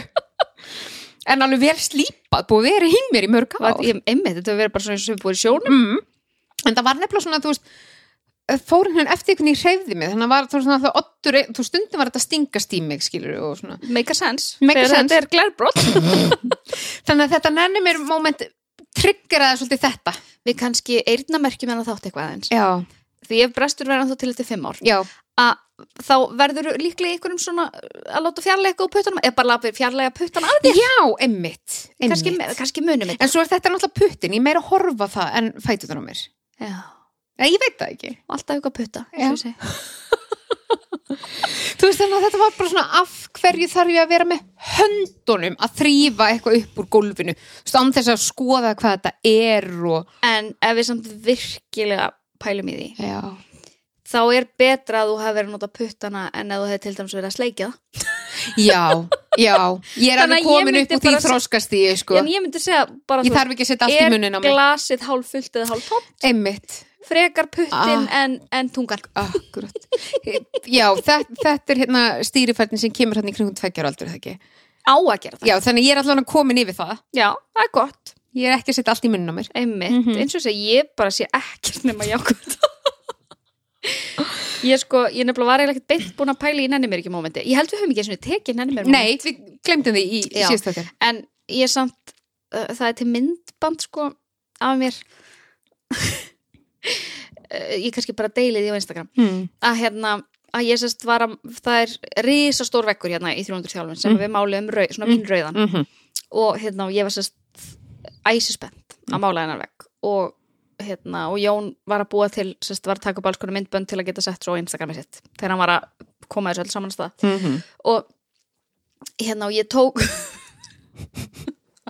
C: en alveg vel slípað, búið að vera í mér í mörg
B: Var-
C: ár
B: Ég, einmitt, þetta hefur verið bara svona eins og við búið í sjónum.
C: mm. en það var nefnilega svona, þú veist eh, fór hann eftir einhvern í hreyfði mig þannig að var, þú veist, svona, það oddur, þú veist, stundum var þetta að stingast í mig, skilur og svona
B: Make a sense.
C: Make a
B: Þegar
C: sense.
B: Þetta er glærbrot.
C: þannig að þetta nenni mér moment triggeraði svolítið þetta
B: Við kannski eyrnamerkjum hennar þátt eitthvað aðeins.
C: já,
B: Því ef brestur verður þá til þetta fimm ár.
C: já,
B: Að þá verður líklega einhverjum svona að láta fjarlæga og puttunum. Eða bara láta fjarlæga puttunum að þér.
C: já, einmitt,
B: Kannski,
C: einmitt.
B: kannski munum þetta.
C: en svo er þetta náttúrulega puttin, ég er meira að horfa á það en fætur það á mér
B: Já.
C: Nei, ég veit það ekki.
B: Alltaf ykkur að putta.
C: Já.
B: eins og ég segi.
C: Þú veist þannig að þetta var bara svona af hverju þarf ég að vera með höndunum að þrýfa eitthvað upp úr gólfinu. Þú veist, án þess að skoða hvað þetta er og...
B: En ef við samt virkilega pælum í því.
C: Já.
B: þá er betra að þú hafi verið að nota puttana en að þú hefði til dæmis verið að sleikja það.
C: Já, já. Ég
B: Þannig að
C: er alveg
B: ég
C: komin
B: myndi
C: upp úr því
B: bara se-
C: þróskast í, sko.
B: En ég myndi segja bara
C: Ég þarf ekki að setja allt í munin á
B: er
C: mig.
B: glasið hálf fullt eða hálf tóm,
C: Einmitt.
B: frekar puttin
C: Ah.
B: en, en tungan.
C: Akkurat. Já, þetta, þetta er hérna stýrifærtin sem kemur hérna í kringum tveggjar aldur, er það ekki?
B: Á að gera það.
C: Já, þannig að ég er allavega komin yfir það.
B: Já, það er gott.
C: Ég er ekki að setja allt í munin á mér.
B: Einmitt,
C: Mhm.
B: eins og þess að ég bara sé ekkert nema jákvæmt. [LAUGHS] ég sko, ég nefnilega var eiginlega ekkert beint búin að pæla í nenni mér ekki mómenti. Ég held við höfum ekki eins og tekið nenni mér
C: Nei, við glemdum því í
B: Já.
C: síðast okkar.
B: En ég samt, uh, það er til myndband sko af mér. [LAUGHS] Uh, ég kannski bara deili því á Instagram.
C: Hmm.
B: að hérna að ég sérst var að það er risastór vekkur hérna í 300 þjálfin sem
C: Mm.
B: við máliðum rauð, svona
C: Mm.
B: vínrauðan
C: Mm -hmm.
B: og hérna og ég var sérst æsispennt
C: Mm.
B: að mála hennar vekk og hérna og Jón var að búa til sérst var að taka upp alls konar myndbönd til að geta sett svo á Instagramið sitt þegar hann var að koma þessu alls saman af stað og hérna og ég tók [LAUGHS]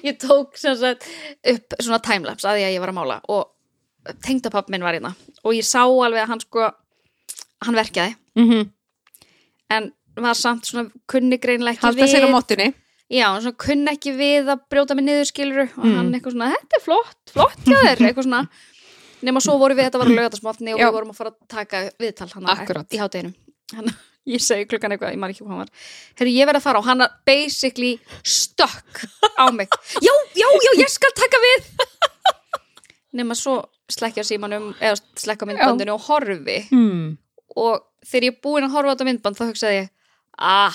B: ég tók sem sagt upp svona timelapse að því að ég var að mála og tengdapapp minn var hérna og ég sá alveg að hann sko hann verkjaði
C: Mhm.
B: en var samt svona kunni greinlega ekki
C: Halda sér á
B: við
C: móttunni.
B: já, svona kunni ekki við að brjóta mig niður skiluru og
C: Mm.
B: hann eitthvað svona, þetta er flott flott hjá [LAUGHS] þér, eitthvað svona nema svo vorum við, þetta var að lögata smátni og
C: Já.
B: við vorum að fara að taka viðtal hann
C: Akkúrat.
B: í hátæginu hann, [LAUGHS] ég segi klukkan eitthvað, ég maður ekki hvað hann var herru, ég verð að fara og hann er basically stökk á mig [LAUGHS] já, já, já, ég skal taka við [LAUGHS] nema svo slekkja símanum eða slekka myndbandinu og horfi
C: Hmm.
B: og þegar ég er búin að horfa á þetta myndband þá hugsaði ég, ah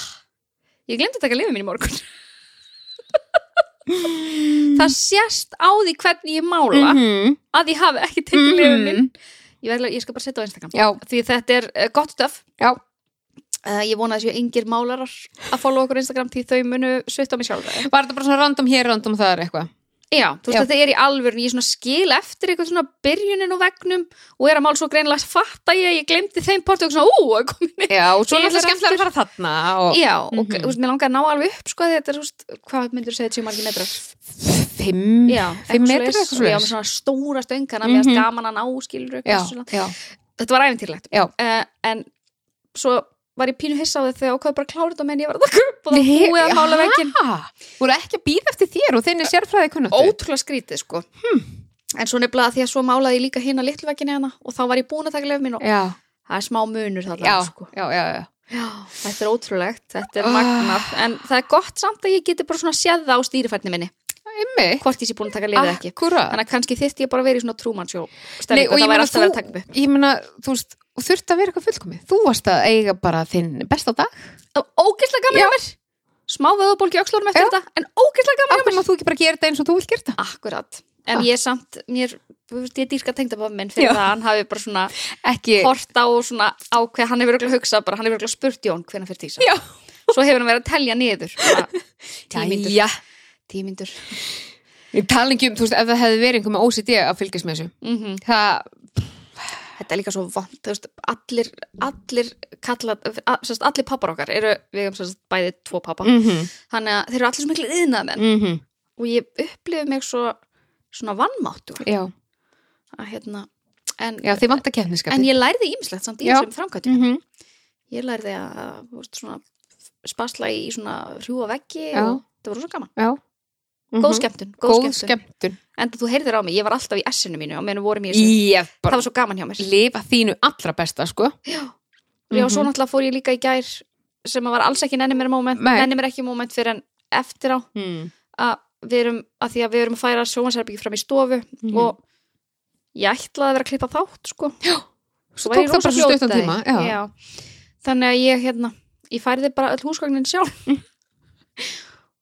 B: ég glemdi að taka lifið mín í
C: [LAUGHS]
B: morgun það sést á því hvernig ég mála
C: -hmm.
B: að ég hafi ekki tekið mm lifið mín ég, verðla, ég skal bara setja á Instagram
C: Mhm. Já,
B: því þetta er uh, gott stöf
C: já.
B: uh, ég vona að séu yngir málarar að followa okkur á Instagram því þau munu sveitt á mig sjálf
C: Var þetta bara svona random hér, random þar eitthvað?
B: já, þú veist
C: Já.
B: að þetta er í alvörun ég svona skil eftir eitthvað svona byrjunin og vegnum og er að mála svo greinilega fatta ég að ég glemdi þeim partu og svona ú, komin
C: Já, og svo
B: Ég
C: er alltaf
B: fer
C: skemmtilega að fara þarna og
B: Já, og
C: Mhm.
B: þú veist, mér langar að ná alveg upp sko, þetta er, þú veist, hvað myndur segja þetta séu margir metrar?
C: fimm,
B: Já,
C: Mhm. fimm metrar
B: svoleiðis.
C: eitthvað
B: Og Já,
C: svona.
B: með svona stóra stöngana mm -hmm.
C: Mhm.
B: meðast gaman að ná, skilur
C: Já, já,
B: Þetta var æfintýrlegt
C: já.
B: uh, En svo var ég pínu hissa á þetta þegar ákvað bara að klára þetta meðan ég var að taka upp og það
C: Nei,
B: búið að mála veginn
C: Ha, voru ekki að býða eftir þér og þinni sérfræði kunnáttu?
B: Ótrúlega skrítið, sko
C: Hmm.
B: En svo nefnilega því að svo málaði ég líka hinn að litlu veginni hana og þá var ég búin að taka lefum mín og
C: Já,
B: það er smá munur
C: já,
B: þarna, sko
C: já, já, já.
B: Já, þetta er ótrúlegt, þetta er
C: Ah.
B: magnað en það er gott samt að ég geti bara svona séð það á stýrifærni minni
C: Einmitt.
B: hvort ég sé búin að taka liðið ekki
C: Akkúrat.
B: þannig að kannski þyrfti ég bara að vera í svona trúmannsjó
C: Nei,
B: stemmingu,
C: og ég
B: það væri
C: meina
B: alltaf verið að taka
C: þú, ég meina, þú veist, og þurfti að vera eitthvað fullkomið. Þú varst að eiga bara þinn besta dag.
B: upp ógislega gaman
C: Já.
B: hjá mér smá vöðubólki öxlunum eftir
C: Já.
B: þetta en ógeðslega gaman
C: Af hverju maður þú ekki bara gera þetta eins og þú vilt gera þetta?
B: Akkurat, en
C: Ah.
B: ég samt mér, þú veist, ég dýrka tengdababa minn fyrir
C: Já.
B: það að hann hafi bara svona
C: Ekki,
B: hort á og svona á hvað hann hefur örugglega hugsað bara, hann hefur örugglega spurt Jón hvenær fyrir tísa
C: Já.
B: svo hefur hann verið að telja niður [LAUGHS] bara, tímindur,
C: já,
B: tímindur
C: ég tala ekki um, þú veist, ef það hefði verið einhver með OCD að fylgjast með þessu.
B: mm
C: Það,
B: þetta er líka svo vond veist, allir, allir kalla a- sem sagt, allir pappar okkar eru við erum sem sagt, bæði tvo pappa
C: mhm,
B: þannig að þeir eru allir svo miklu yðnaðmenn
C: mhm,
B: og ég upplifi mig svo svona vannmáttu
C: já,
B: hérna, en,
C: já, þið vant að
B: en
C: keppniskapi.
B: ég lærði ímislegt samt í
C: Já.
B: þessum framkvæmt
C: Mhm,
B: ég lærði að þú veist, svona, spasla í svona hrjúa veggi
C: Já.
B: og það var svo gaman
C: já.
B: góð
C: Mhm.
B: skemmtun, góð,
C: Góð
B: skemmtun.
C: skemmtun.
B: en þú heyrðir á mig, ég var alltaf í S-inu mínu og meðan við vorum í þessu,
C: Ég
B: það
C: bara
B: var svo gaman hjá mér
C: lifa þínu allra besta, sko.
B: já, svo
C: Mhm.
B: náttúrulega fór ég líka í gær sem að var alls ekki nenni mér moment
C: Nei.
B: nenni mér ekki moment fyrir en eftir á
C: Mm.
B: að við erum, að því að við erum að færa sjónvarsherbyggi fram í stofu
C: Mhm.
B: og ég ætlaði að vera að klippa þátt sko.
C: Svo
B: Var
C: tók
B: ég
C: það
B: rosa
C: bara svo stuttan
B: fljótari.
C: tíma. Já,
B: Já. þannig að ég hérna ég færði bara öll húsgagnin sjálf
C: [LAUGHS]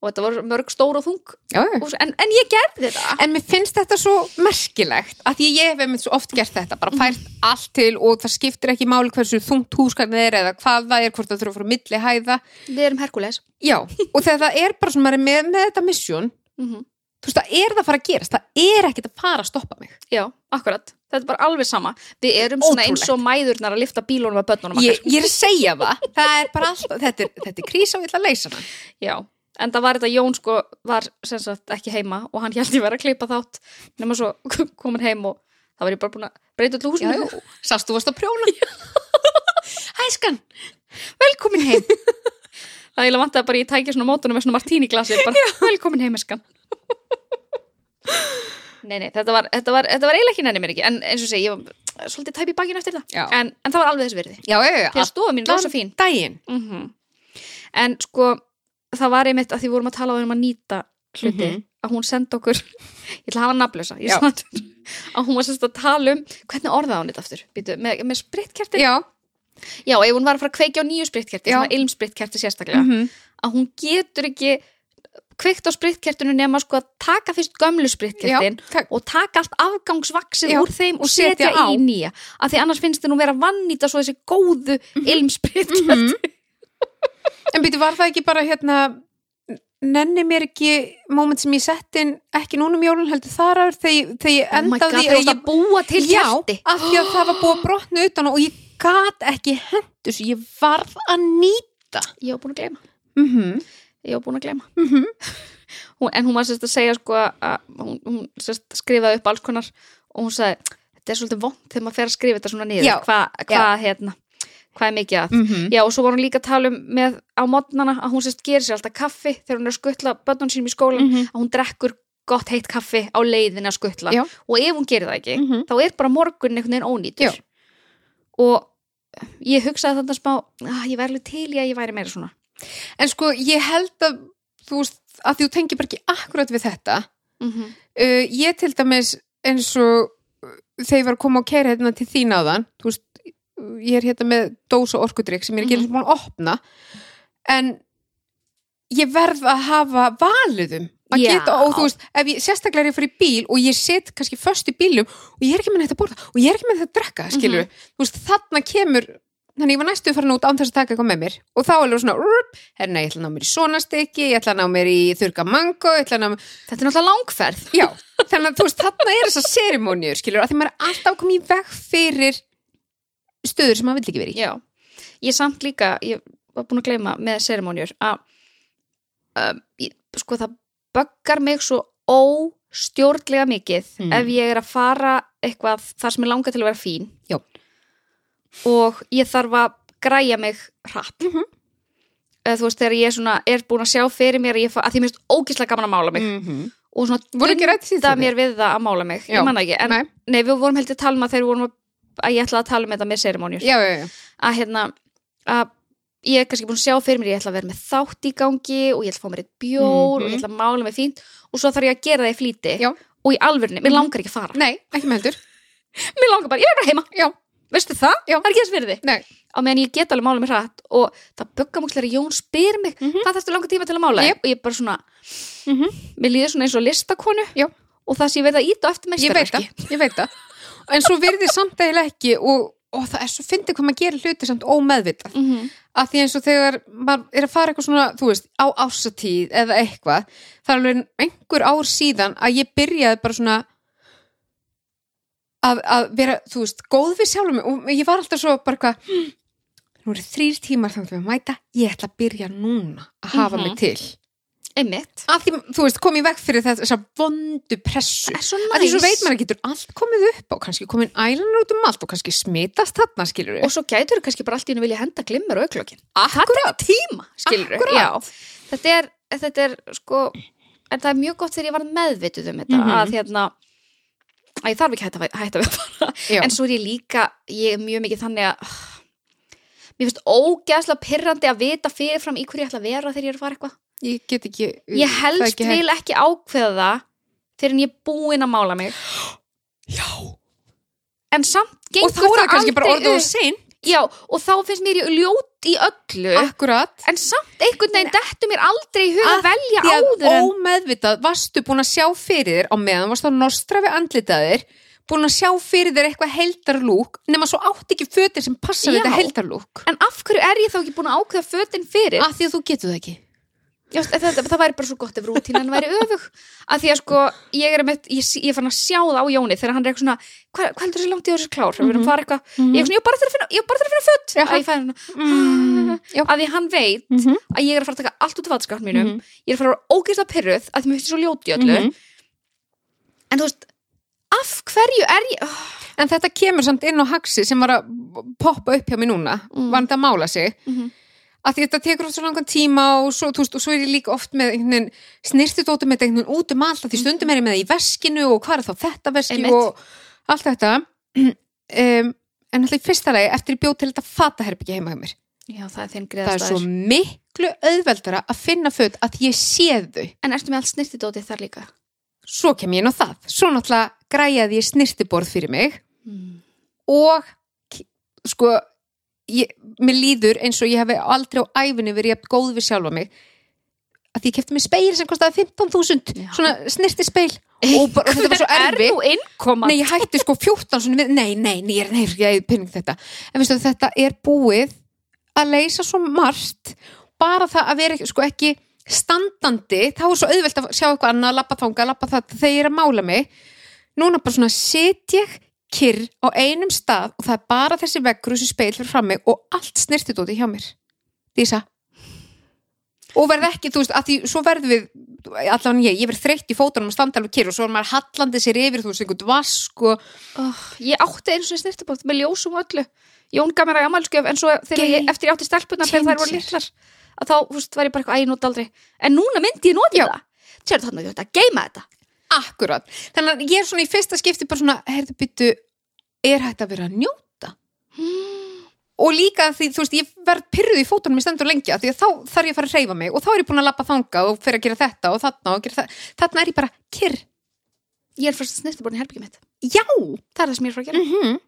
B: og þetta voru mörg stór og þung
C: já. já.
B: hús, en, en ég gerði þetta
C: En mér finnst þetta svo merkilegt að því að ég hef einmitt svo oft gert þetta bara fært allt til og það skiptir ekki máli hversu þungt húskarnið er eða hvað það er hvort það þurfa að fara á milli hæða
B: við erum Herkules
C: Já, og þegar það er bara sem maður er með, með þetta misjón
B: mm
C: þú veist, það er það að fara að gerast það er ekkit að fara að stoppa mig
B: já, akkurat, þetta er bara alveg sama við erum svona
C: Ótrúlegt.
B: eins og mæðurnar að lifta bílunum að börnunum
C: ég,
B: okkar sko.
C: ég er að segja það það er bara alltaf, þetta er, þetta er krísa og ég ætla að leysa hana
B: já, en það var þetta Jón sko var sem sagt ekki heima og hann held ég vera að klippa þátt nema svo [LAUGHS] komin heim og það var ég bara búin að breyta öllu húsinu
C: Já, sást þú varst að prjóna Hæskan, velkomin
B: [LAUGHS]
C: heim
B: það er eiginlega vant að bara ég tækja svona mótunum með svona martíni glasi bara velkomin heimeskan [LAUGHS] Nei, nei, þetta var, þetta var, þetta var eiginlega ekki nenni mér ekki en eins og segi, ég var svolítið tæp í bakinu eftir
C: Já.
B: það en, en það var alveg þess virði
C: Já, já, já,
B: því að stofa mín er rosa fín
C: allan daginn
B: mm en sko, það var einmitt að því vorum að tala um að nýta hluti
C: Mhm.
B: að hún sendi okkur [LAUGHS] ég ætla að hafa nafnlösa ég
C: Já.
B: sagði þetta. að hún var sérst að tala um hvernig orðaði hún þetta aftur Býtu, með, með spritkerti
C: Já,
B: Já, ef hún var að fara að kveikja á nýju spritkerti
C: Já.
B: svona ilmspritkerti sérstaklega
C: mhm
B: að hún getur ekki kveikt á spritkertinu nema sko að taka fyrst gömlu spritkertin
C: Já, takk.
B: og taka allt afgangsvaksið
C: Já,
B: úr þeim og
C: setja
B: setja,
C: á.
B: í nýja af því annars finnst þið nú vera að vannýta svo þessi góðu
C: Mhm.
B: ilmspritkert
C: En býtu, var það ekki bara hérna nenni mér ekki moment sem ég sett inn ekki núna um jólun heldur þar áður þegar, ég- þegar ég
B: oh my
C: endaði
B: god,
C: því
B: það
C: að
B: er að búa til
C: já,
B: kerti
C: af því að það var búið að brotna utan á og ég gat ekki hendur svo ég varð að nýta
B: ég var búin að gleyma,
C: mm -hmm.
B: ég var búin að gleyma
C: Mm -hmm.
B: [LAUGHS] hún, en hún var sérst að segja sko að hún, hún sérst skrifaði upp alls konar og hún sagði, þetta er svolítið vond þegar maður fer að skrifa þetta svona niður
C: Já,
B: hvað hva, hérna, hvað er mikið að Já, og svo var hún líka að tala um með á mótnana að hún sérst gerir sér alltaf kaffi þegar hún er að skuttla börnun sínum í skólan
C: Mhm.
B: að hún drekkur gott heitt kaffi á leiðinni að skuttla
C: Já.
B: og ef hún gerir það ekki
C: Mhm.
B: þá er bara morgun einhvern veginn ónýtur
C: Já.
B: og ég hugsaði þarna smá að ég væri alveg til í að ég væri meira svona
C: En sko, ég held að þú veist, að því þú tengir bara ekki akkurat við þetta
B: mm
C: uh, ég til dæmis eins og uh, þegar ég var að koma og kæra hérna til þín áðan þú veist, uh, ég er hérna með dósa orkudrykk sem ég er ekki eins og búin að opna en ég verð að hafa valiðum að
B: Já.
C: geta, og þú veist, ef ég sérstaklega er ég fyrir bíl og ég set kannski föst í bílum og ég er ekki með neitt að borða og ég er ekki með þetta að drekka, skilur þú veist, þarna kemur þannig ég var næstu farin út án þess að taka eitthvað með mér og þá er alveg svona, herna, ég ætla að ná mér í svona stykki, ég ætla að ná mér í þurka mango, ég ætla að ná mér
B: Þetta er náttúrulega langferð
C: Já, þannig að þú veist, þarna er þessar serimóniur, skilur, að því maður er alltaf komið í veg fyrir stöður sem maður vill ekki verið í.
B: Já, ég samt líka ég var búin að gleyma með serimónjur að um, ég- sko það böggar mig svo óstjórnlega mikið
C: Mm.
B: ef ég er að fara eitthvað þar sem ég langar til að vera fín
C: Já.
B: og ég þarf að græja mig hratt mm
C: Mhm.
B: þú veist þegar ég svona er búin að sjá fyrir mér að, ég, fa- að því mér finnst ógislega gaman að mála mig
C: Mm -hmm.
B: og svona
C: Voru ekki rætt síðan
B: dunda mér við það að mála mig
C: Já.
B: ég manna ekki, en nei.
C: Nei,
B: við vorum heldur að tala um að þegar við vorum að, að ég ætlaði að tala um þetta með serimónjur
C: já, já, já.
B: að hérna að ég er kannski búin að sjá fyrir mér ég ætla að vera með þátt í gangi og ég ætla að fá mér eitt bjór og ég
C: Mhm.
B: ætla að mála mig fínt og svo þarf ég að gera það í flýti
C: Já.
B: og í alvörni, mér langar ekki að fara
C: Nei, ekki með heldur.
B: mér langar bara, ég er bara heima
C: Já.
B: veistu það?
C: Já.
B: Það er ekki þess fyrir þig
C: Nei.
B: Á meðan ég get alveg mála mér hratt og það bögga múkslega er að Jón spyr mig
C: Mhm.
B: hvað þarfstu langa tíma til að mála
C: Jep.
B: og ég bara svona,
C: Mhm.
B: mér líður svona eins og listakonu
C: Já.
B: og það sé ég verið að íta á eftir
C: ég veit það,
B: meistarverki
C: ég veit það en svo virði samt eiginlega ekki og, og það er svo fyndið hvað maður gerir hluti samt ómeðvitað
B: mm -hmm.
C: að því eins og þegar maður er að fara eitthvað svona þú veist, á ásatíð eða eitthvað það er alveg einhver ár síðan að ég byrjaði bara svona að, að vera, þú veist, góð við sjálfum mig og ég var alltaf svo bara eitthvað "Hmm, nú eru þrýr tímar þannig að við mæta ég ætla að byrja núna að hafa
B: Mhm.
C: mig til
B: Einmitt
C: að því, þú veist, kom ég vekk fyrir þess að vondu pressu
B: Það er svo
C: að því svo
B: næs.
C: veit maður að getur allt komið upp og kannski komin ælan út um allt og kannski smitast þarna skilur
B: Og
C: við
B: svo gætur kannski bara allt í hennu vilja henda glimmur og auklokkin
C: akkurat,
B: Tíma, skilur
C: Akkúrat.
B: Já, þetta er, þetta er sko en það er mjög gott þegar ég var meðvituð um þetta
C: Mhm.
B: að hérna að ég þarf ekki að hætta, hætta við að fara
C: já,
B: en svo er ég líka, ég er mjög mikið þannig að mér finnst ógeðslega pirrandi að vita fyrirfram í hverju ég ætla að vera þegar ég er að fara eitthvað
C: ég get ekki
B: ég helst
C: ekki
B: vil ekki ákveða það fyrir en ég er búin að mála mig
C: já.
B: en samt
C: og
B: gengur
C: þá er það kannski bara
B: aldrei
C: orðið og
B: upp.
C: sein
B: já, og þá finnst mér ég ljót í
C: Eh?
B: öllu
C: akkurat
B: en samt einhvern veginn dettu mér aldrei í hug
C: Af
B: að velja
C: því að
B: áður en
C: ómeðvitað varstu búin að sjá fyrir þér á meðan varstu að nostra við andlitaðir búin að sjá fyrir þér eitthvað heldarlúk nema svo átt ekki fötir sem passa
B: Já.
C: við þetta heldarlúk
B: en af hverju er ég þá ekki búin að ákveða fötin fyrir
C: að því að þú getur það ekki
B: Já, það, það, það væri bara svo gott ef rútínan væri öfug að því að sko, ég er meitt, ég, sé- ég er fann að sjá það á Jóni þegar hann er eitthvað svona hvað hvað heldur þessi langt í þessi klár,
C: Mhm.
B: mm -hmm. eitthvað,
C: Mm-hmm.
B: ég er svona, ég er bara þarf að finna, ég er bara þarf að finna fött
C: Jaha.
B: að ég fæði hann,
C: mm, já,
B: að því hann veit
C: Mhm.
B: að ég er að fara að taka allt út af vatskapnum mínum
C: Mhm.
B: ég er að fara að vera ógeðslega pyrruð að því mér finnst ég svo ljóti öllu
C: Mhm.
B: en þú veist, af hverju er ég oh,
C: En þetta kemur samt inn á haxi sem var að poppa upp hjá mér núna,
B: Mm.
C: var þetta að mála sig
B: Mhm.
C: að því þetta tekur oft svo langan tíma og svo, þú veist, og svo er ég líka oft með einhvern snirtidóttum með þetta einhvern veginn út um allt af því stundum er ég með það í veskinu og hvað er þá þetta veski
B: Mhm. Einmitt.
C: og allt þetta [CLEARS THROAT] um, en alltaf í fyrsta lagi eftir ég bjóð til þetta fataherbyggja heima hjá mér
B: já, það er þinn
C: það er svo
B: greiðastæður
C: miklu auðveldara að finna föt að ég sé þau
B: en ertu með allt snirtidótið þar líka
C: svo kem ég inn á það, svo náttúrulega græjaði ég snirtiborð fyrir mig
B: mm.
C: og k- sko ég, mér líður eins og ég hef aldrei á æfinni verið jafn góð við sjálfa mig að því ég kefti mér speil sem kostaði 15.000
B: Já.
C: svona snirti speil
B: [LAUGHS]
C: og, bara, og þetta var svo erfi
B: er nú innkoma
C: nei ég hætti sko 14 svona við, nei nei, nei, nei, nei, ég er pinning þetta en veistu þetta er búið að leysa svo margt bara það að vera ekki- sko ekki standandi, þá er svo auðvelt að sjá eitthvað annað, lappa þanga, lappa það þegar ég er að mála mig núna bara svona sit ég kyrr á einum stað og það er bara þessi veggur og þessi speil fyrir frammi og allt snirtið út í hjá mér Dísa og verð ekki, þú veist, að því svo verðum við allan ég, ég verð þreytt í fótunum að standa alveg kyrr og svo er maður hallandi sér yfir þú veist, einhvern vask og
B: oh, ég átti eins og snirtibótt með ljósum og öllu Jón gaf mér að amalskjöf en svo þegar ég,
C: Gay
B: eftir ég átti stelpunar þegar þær voru
C: changer.
B: litlar að þá húst, var ég bara eitthvað að ég nota aldrei en núna myndi ég nota
C: Já.
B: þetta sérðu þarna þú ert að geima þetta
C: akkurat, þannig að ég er svona í fyrsta skipti bara svona, heyrðu byttu er hægt að vera að njóta og líka því, þú veist, ég verð pyrruð í fótunum í stendur lengi af því að þá þarf ég að fara að reyfa mig og þá er ég búin að labba þangað og fyrir að gera þetta og þarna og gera það þarna er ég bara kyrr,
B: ég er fyrst snirtibótt í herbyggjum mitt
C: já
B: það er það sem ég er að fara að gera
C: -hmm.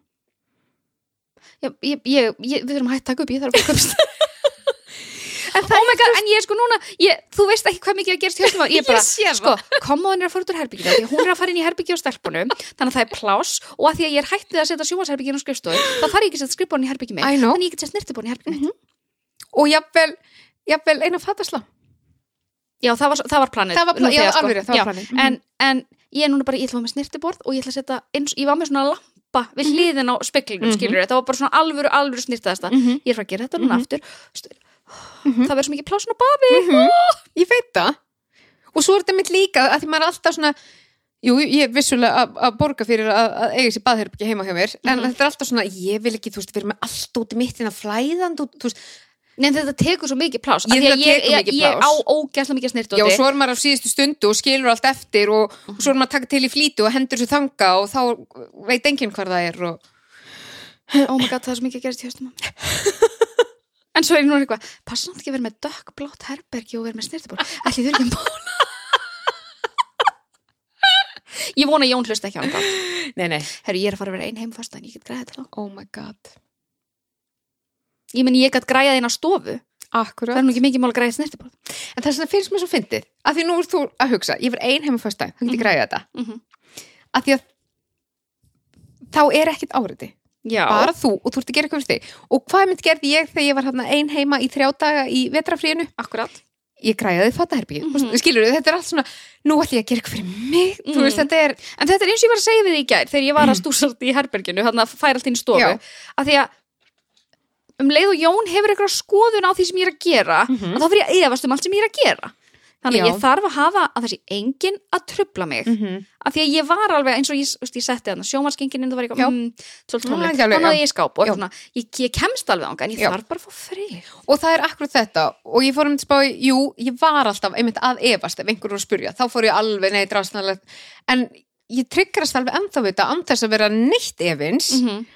B: ég, ég, ég, ég, við þurfum að hætta að taka upp ég þarf að fara að köpst
C: [LAUGHS]
B: oh my god, en ég er sko núna ég, þú veist ekki hvað mikið að gerst
C: [LAUGHS]
B: hjá ég er bara,
C: sé
B: sko, komóðin er að fara út úr herbygginu því að hún er að fara inn í herbyggi á stelpunum þannig að það er pláss og að því að ég er hætt við að setja sjómasherbygginu á skrifstofu þá þarf ég ekki að setja skrifbónin í herbyggi mitt
C: I know.
B: þannig að ég get sett snirtibónin í herbyggi mitt
C: og jafnvel, jafnvel eina fatasla
B: já, það var, það var planið
C: það var,
B: Nú
C: plan, já,
B: þegar, sko.
C: alveg, rétt, það
B: Já,
C: var planið Mhm.
B: en, en ég er núna bara, ég ætla að fá með snirtiborð og ég ætla að setja, eins, ég var með svona lampa við hliðin á speklinum, mm -hmm.
C: Mhm.
B: skilur þetta var bara svona alvöru, alvöru snirtaðasta
C: Mhm.
B: ég er frá að gera þetta núna
C: Mhm.
B: aftur Stu-
C: Mhm.
B: það verður svo mikið plásun á baði
C: ég veit það og svo er þetta mitt líka að því maður er alltaf svona jú, ég er vissulega að, að borga fyrir að, að eiga sér baðherbyggja heima hjá mér en þetta er alltaf svona, ég vil ekki, þú veist, vera með allt út í mitt innan flæðand út, þú veist,
B: Nei, en þetta tekur svo mikið plás
C: Ég-
B: af því að
C: þetta
B: ég,
C: tekur
B: ég,
C: mikið
B: ég
C: pláss.
B: á ógæsla mikið snirtóti
C: já, og svo er maður á síðustu stundu og skilur allt eftir og,
B: Mhm.
C: og svo er maður að taka til í flýtu og hendur sér þanga og þá veit enginn hvar það er og
B: oh my god, það er svo mikið að gerast í höstum á mér.
C: [LAUGHS]
B: en svo er ég núna eitthvað passa nátt ekki að vera með dökkblótt herbergi og vera með snirtiborð ætli þau eru ekki að mála [LAUGHS] Ég vona að Jón hlusta ekki á hann galt.
C: Nei, nei.
B: Herru, ég er að fara að vera ein heim fast en ég get græðið þetta. langt.
C: Oh my god.
B: Ég meni, ég get græðið inn á stofu. Það
C: Akkurat.
B: er nú ekki mikið mál að græðið snertiborð.
C: En það er svona finnst mér svo fyndið. Að því nú ert þú að hugsa, ég var ein heima fyrst dag, það getur
B: Mhm.
C: græðið þetta.
B: Mm -hmm.
C: Að því að þá er ekkit áriði.
B: Já.
C: Bara þú og þú ert að gera eitthvað fyrir þig. Og hvað mynd gerði ég þegar ég var hérna ein heima í þrjá daga í vetrafríinu?
B: Akkurat.
C: Ég græðið fattaherbyggið. Mm
B: Mhm.
C: -hmm. Skilur þetta er allt svona, nú ætlum ég að gera eitthvað fyrir mig. Þú
B: Mhm.
C: veist, þetta er,
B: En þetta er eins og ég var að segja við því í gær þegar ég var að stúsalt í herberginu, þannig að færa allt inn í stofu.
C: Mm. Já.
B: Að því að um leið og Jón hefur eitthvað skoðun á því sem ég er að gera,
C: Mhm.
B: að þá fyrir ég að efast um allt sem ég er að gera. Þannig að
C: Já.
B: ég þarf að hafa að þessi enginn að trubla mig. Mm.
C: -hmm.
B: Að því að ég var alveg eins og ég, veist, ég setti þarna sjómaskingin en það var
C: Já.
B: eitthvað, mm, svolítið
C: Mm,
B: tónleik,
C: ekki alveg,
B: þannig að
C: já.
B: ég í skáp og
C: Já.
B: svona, ég, ég kemst alveg ánga en ég
C: Já.
B: þarf bara að fá frið.
C: Og það er akkurat þetta og ég fór um til spá, í- jú, ég var alltaf einmitt að efast ef einhver voru að spurja, þá fór ég alveg neitt rásnalegt, en ég tryggarast alveg ennþá við þetta án þess að vera neitt efins,
B: -hmm.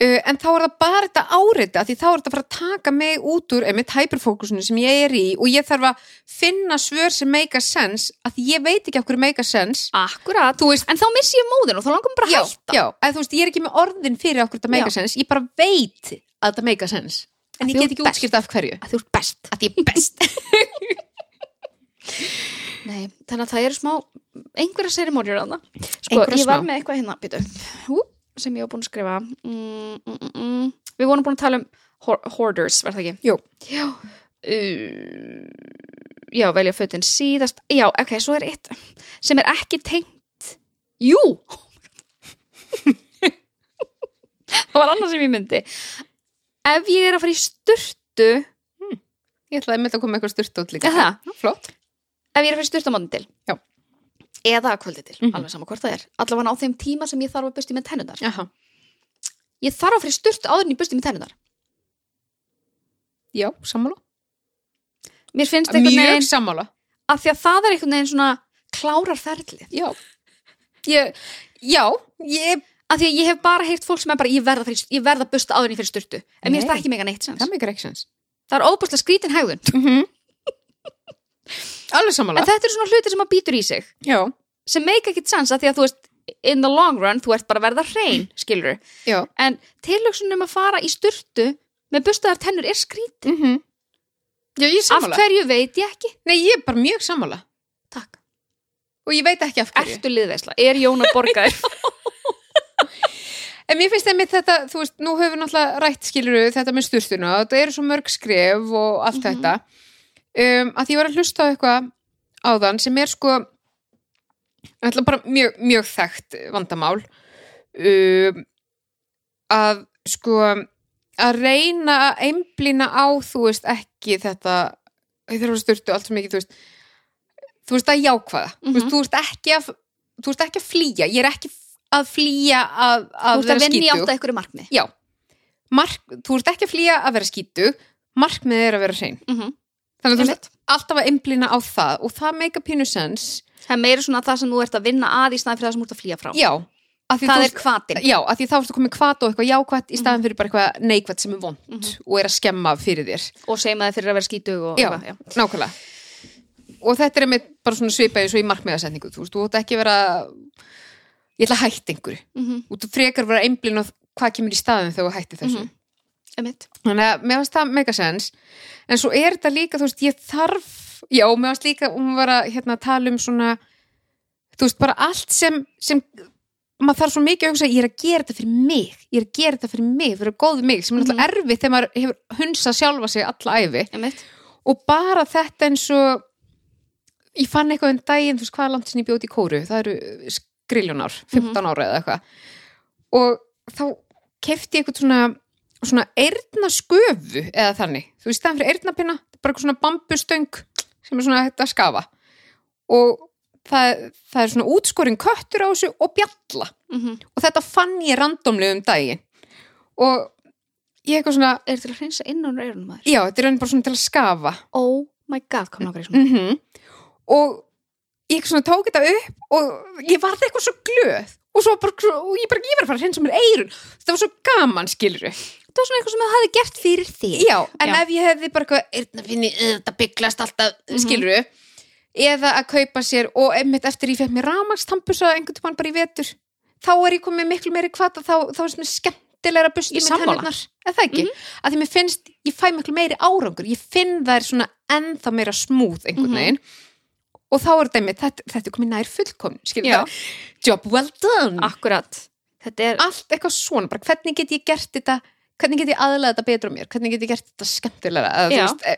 C: uh, en þá er það bara þetta árita, því þá er þetta að fara að taka mig út úr einmitt hyperfókusinu sem ég er í og ég þarf að finna svör sem make a sense, að því ég veit ekki af hverju make a sense.
B: Akkurat,
C: Þú veist,
B: en þá missi ég móðin og þá langum bara að
C: já,
B: hætta.
C: já, að þú veist, ég er ekki með orðin fyrir okkur þetta make a
B: Já.
C: sense, ég bara veit að þetta make a sense, en
B: Að þú
C: ég get
B: ert
C: ekki
B: best.
C: útskýrt af hverju.
B: Að þú ert best.
C: Að því ég er best.
B: [LAUGHS] Nei, þannig að það eru smá einhverja serimónjur að það sko,
C: Einhverjar
B: ég var
C: smá.
B: með eitthvað hérna býtu, hú, sem ég var búin að skrifa mm, mm, mm, mm. við vorum búin að tala um hor- hoarders, var það ekki?
C: Jú.
B: já, uh, já velja fötin síðast já, ok, svo er eitt sem er ekki tengt jú [LAUGHS] það var annað sem ég myndi ef ég er að fara í sturtu
C: Ég ætlaði með að koma með eitthvað styrtótt líka.
B: Er það?
C: Já, Flott.
B: ef ég er að fyrir styrta mótin til
C: Já.
B: eða að kvöldi til,
C: Mhm.
B: alveg sama hvort það er allavega á þeim tíma sem ég þarf að busti með tennunar
C: Aha.
B: ég þarf að fyrir styrtu áður en ég busti með tennunar
C: Já, sammála.
B: mér finnst
C: Mjög
B: einhvern veginn
C: sammála.
B: að því að það er einhvern veginn svona klárar ferlið
C: Já. Ég, já, ég,
B: að því að ég hef bara heyrt fólk sem er bara ég verða, fyrir, ég verða að busta áður en ég fyrir styrtu en mér finnst
C: Nei.
B: það ekki mega neitt sens
C: það meikar ekki sens.
B: það er óbúslega skrítin hegðun
C: Mhm. Alveg
B: en
C: sammála.
B: þetta eru svona hlutir sem að býtur í sig
C: Já,
B: sem meika ekkit sens að því að þú veist in the long run, þú ert bara að verða hrein skilur,
C: já.
B: en tilöksunum að fara í styrtu með bustaðar tennur er skrít
C: Mm -hmm. Já, ég er
B: af
C: sammála.
B: hverju veit ég ekki
C: Nei, ég er bara mjög sammála.
B: Takk.
C: Og ég veit ekki af hverju.
B: Ertu liðveisla? Er Jón að borga
C: [LAUGHS]
B: þér?
C: En mér finnst einmitt þetta, þú veist, nú höfum við náttúrulega rætt skiluru þetta með styrtuna og þetta eru svo mörg skref og allt
B: Mhm.
C: þetta. Um, að því ég var að hlusta á eitthvað áðan sem er sko ætla bara mjög, mjög þekkt vandamál um, að sko að reyna að einblína á þú veist ekki þetta þegar þú styrtu allt svo mikið, þú veist þú veist að jákvæða, þú, veist,
B: Mhm.
C: þú veist ekki að þú veist ekki að flýja, ég er ekki að flýja að,
B: Þú
C: að
B: ert að
C: vera
B: vinna í
C: skítug
B: átt að ykkur markmi.
C: Já, Mark, þú ert ekki að flýja að vera skítu, markmiðið er að vera hrein.
B: Mm -hmm.
C: Þannig að þú
B: Einmitt.
C: ert alltaf að einblýna á það og það make a pínu sens.
B: Það er meira svona það sem þú ert að vinna að í staðan fyrir það sem þú ert að flýja frá.
C: Já, að því,
B: það
C: þú,
B: er Mhm. hvatin.
C: já, að því þá ertu komið kvat og eitthvað jákvætt í staðan fyrir bara eitthvað neikvætt sem er vond
B: Mhm.
C: og er að skemma fyrir þér.
B: Og segjum að það fyrir að vera skítug og
C: Já.
B: eitthvað, já.
C: Nákvæmlega. Og þetta er einmitt bara svona svipað eins og í markmiðasetningu, þú veist, þú ætti ekki að vera, ég ætla að hætti einhverju.
B: Mm -hmm.
C: Og þú frekar vera einblýna á hvað kemur í staðum þegar þú hætti þessu.
B: Mhm. Emitt.
C: þannig að mér finnst það mega sens en svo er þetta líka, þú veist, ég þarf já, mér finnst líka, hún var að hérna, tala um svona, þú veist, bara allt sem, sem maður þarf svo mikið að hugsa, ég er að gera þetta fyrir mig ég er að gera þetta fyrir mig, fyrir góð mig sem er náttúrulega erfitt þegar maður hefur hunsað sjálfa sig alla æfi
B: Emitt.
C: og bara þetta eins og ég fann eitthvað um daginn, þú veist hvað langt sinni bjóti í kóru, það eru skriljónar 15 ára eða eitthvað og þá kefti ég eitthvað svona svona eyrna sköfu eða þannig, þú veist, staðan fyrir eyrnapinna bara eitthvað svona bambustöng sem er svona hægt að skafa og það, það er svona útskorin köttur á þessu og bjalla
B: Mm -hmm.
C: og þetta fann ég randomlega um daginn og ég eitthvað svona
B: Er til að hreinsa innan reyrunum maður?
C: já, þetta er raunin bara svona til að skafa
B: Oh my god, kom nákvæmlega í svona.
C: mm og ég svona tók þetta upp og ég varð eitthvað svo glöð og svo bara, svo- og ég bara, ég var að fara að hreinsa mér eirun þetta var svo gaman, skilur
B: Það var svona eitthvað sem það hefði gert fyrir þig.
C: já, en
B: Já.
C: ef ég hefði bara eitthvað eirnafinni, þetta bygglast alltaf,
B: Mhm.
C: skilur eða að kaupa sér og einmitt eftir ég fekk mér ramagstambusa einhvern tímann bara í vetur þá er ég komið miklu meiri kvata þá, þá er sem er skemmtilegra busti
B: Ég sammála. Mhm.
C: eða það ekki, að því mér finnst ég fæ miklu meiri árangur, ég finn þær svona ennþá meira smúð einhvern
B: Mhm.
C: veginn og þá er þetta einmitt þetta, þetta er komið nær fullkomn, skilur
B: Já.
C: það job well done,
B: akkurat þetta er
C: allt eitthvað svona bara hvernig get ég gert þetta hvernig get ég aðlega þetta betur á mér, hvernig get ég gert þetta skemmtilegra, eða, þú
B: Já.
C: veist, e,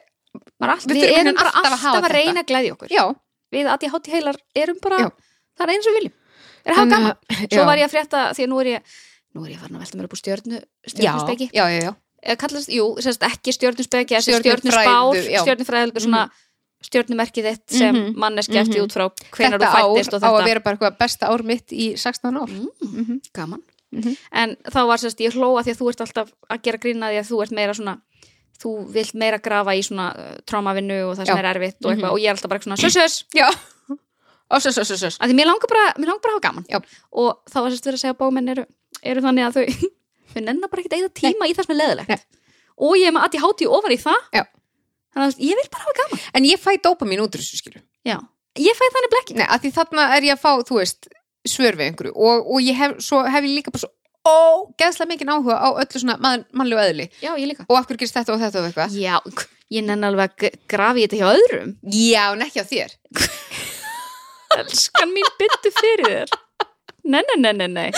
B: maður allt,
C: Við
B: við,
C: þurfum
B: erum bara
C: alltaf að
B: alltaf,
C: hafa
B: að,
C: þetta.
B: reyna að gleðja okkur
C: já
B: við að ég hátti heilar erum bara
C: Já.
B: það er eins og við viljum er að hafa
C: Þannig
B: gaman,
C: að-
B: svo
C: já.
B: var ég að frétta því að nú er ég nú er ég farin að velta mér upp úr stjörnu stjörnuspeki,
C: já, já, já,
B: eða kallast, jú, semst ekki stjörnuspeki eða sem stjörnuspár,
C: Stjörnufræðu, já.
B: stjörnufræðilegu svona stjörnumerkið þitt sem mm
C: Mhm.
B: manneski eftir
C: Mhm.
B: út frá hvenar þú
C: þetta
B: fættist og
C: ár á að
B: þetta
C: vera bara eitthvað besta ár mitt í 16 ár
B: Mm,
C: Mhm.
B: gaman
C: Mhm.
B: en þá var semst, ég hlóa því að þú ert alltaf að gera grína því að þú ert meira svona þú vilt meira grafa í svona uh, trámavinnu og það sem
C: Já.
B: er erfitt og eitthvað
C: Mhm.
B: og ég er alltaf bara svona, sös, sös,
C: já, og svo, svo, svo, svo
B: að því mér langar bara, mér langar bara að hafa gaman
C: Já.
B: og þá var sérst verið að segja að bómenn eru, eru þannig að þau [LAUGHS] þau nennar bara ekkert að eigða tíma í það sem er leðilegt
C: Nei.
B: og ég er með aðti hátíu ofan í það
C: Já.
B: þannig að ég vil bara hafa gaman
C: en ég fæ dópamín út úr þessu skilur
B: Já. ég fæ þannig blekki
C: Nei, að því þarna er ég að fá, þú veist, svör við einhverju og, og ég hef, svo hef ég líka bara svo ógeðslega mikinn áhuga á öllu svona mann, mannlegu eðli
B: Já, ég líka
C: og akkur gerist þetta og þetta og eitthvað.
B: Já, ég nenn alveg að g- grafi þetta hjá öðrum
C: Já, en ekki á þér.
B: Elskan mín byttu fyrir þér Nei, nei, nei, nei, nei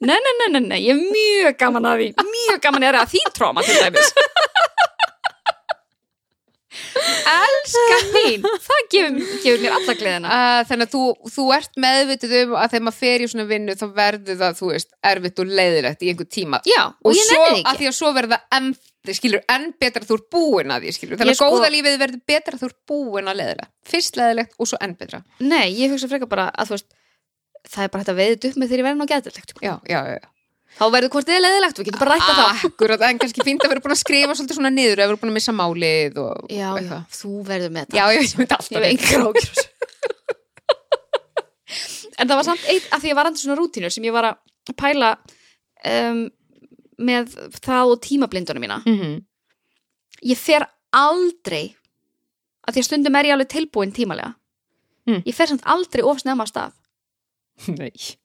B: Nei, nei, nei, nei, nei, ég er mjög gaman að því Mjög gaman er að því tróma til dæmis Elskan mín Það gefur, gefur mér alla gleðina
C: Uh, þannig að þú, þú ert meðvitið um að þegar maður fer í svona vinnu þá verður það, þú veist, erfitt og leiðilegt í einhver tíma.
B: Já, og, ég
C: svo,
B: nenni því
C: að
B: ekki
C: því að svo verður það enn, þið skilur, enn betra þú er búin að því, skilur. Þannig
B: Ég
C: að
B: sko-
C: góða lífið verður betra þú er búin að leiðilegt. Fyrst leiðilegt og svo enn betra.
B: Nei, ég hugsa frekar bara að þú veist Það er bara hægt að veiðið upp með þegar ég verðin á geðilegt
C: Já, já, já. já.
B: Þá verður hvort þið er leiðilegt, við getum bara rætta þá
C: Akkurat, en kannski fínt að vera búin að skrifa svolítið svona niður, að vera búin að missa málið
B: Já,
C: og og
B: já,
C: eitthvað.
B: þú verður með þetta
C: Já, ég veit alltaf.
B: Ég hef engar ákjör En það var samt eitt að því ég var andur svona rútínur sem ég var að pæla um, með það og tímablindunum mína
C: Mm -hmm.
B: Ég fer aldrei að því að stundum er ég alveg tilbúin tímalega
C: Mm.
B: Ég fer samt aldrei of snemma af stað
C: [LAUGHS] Nei.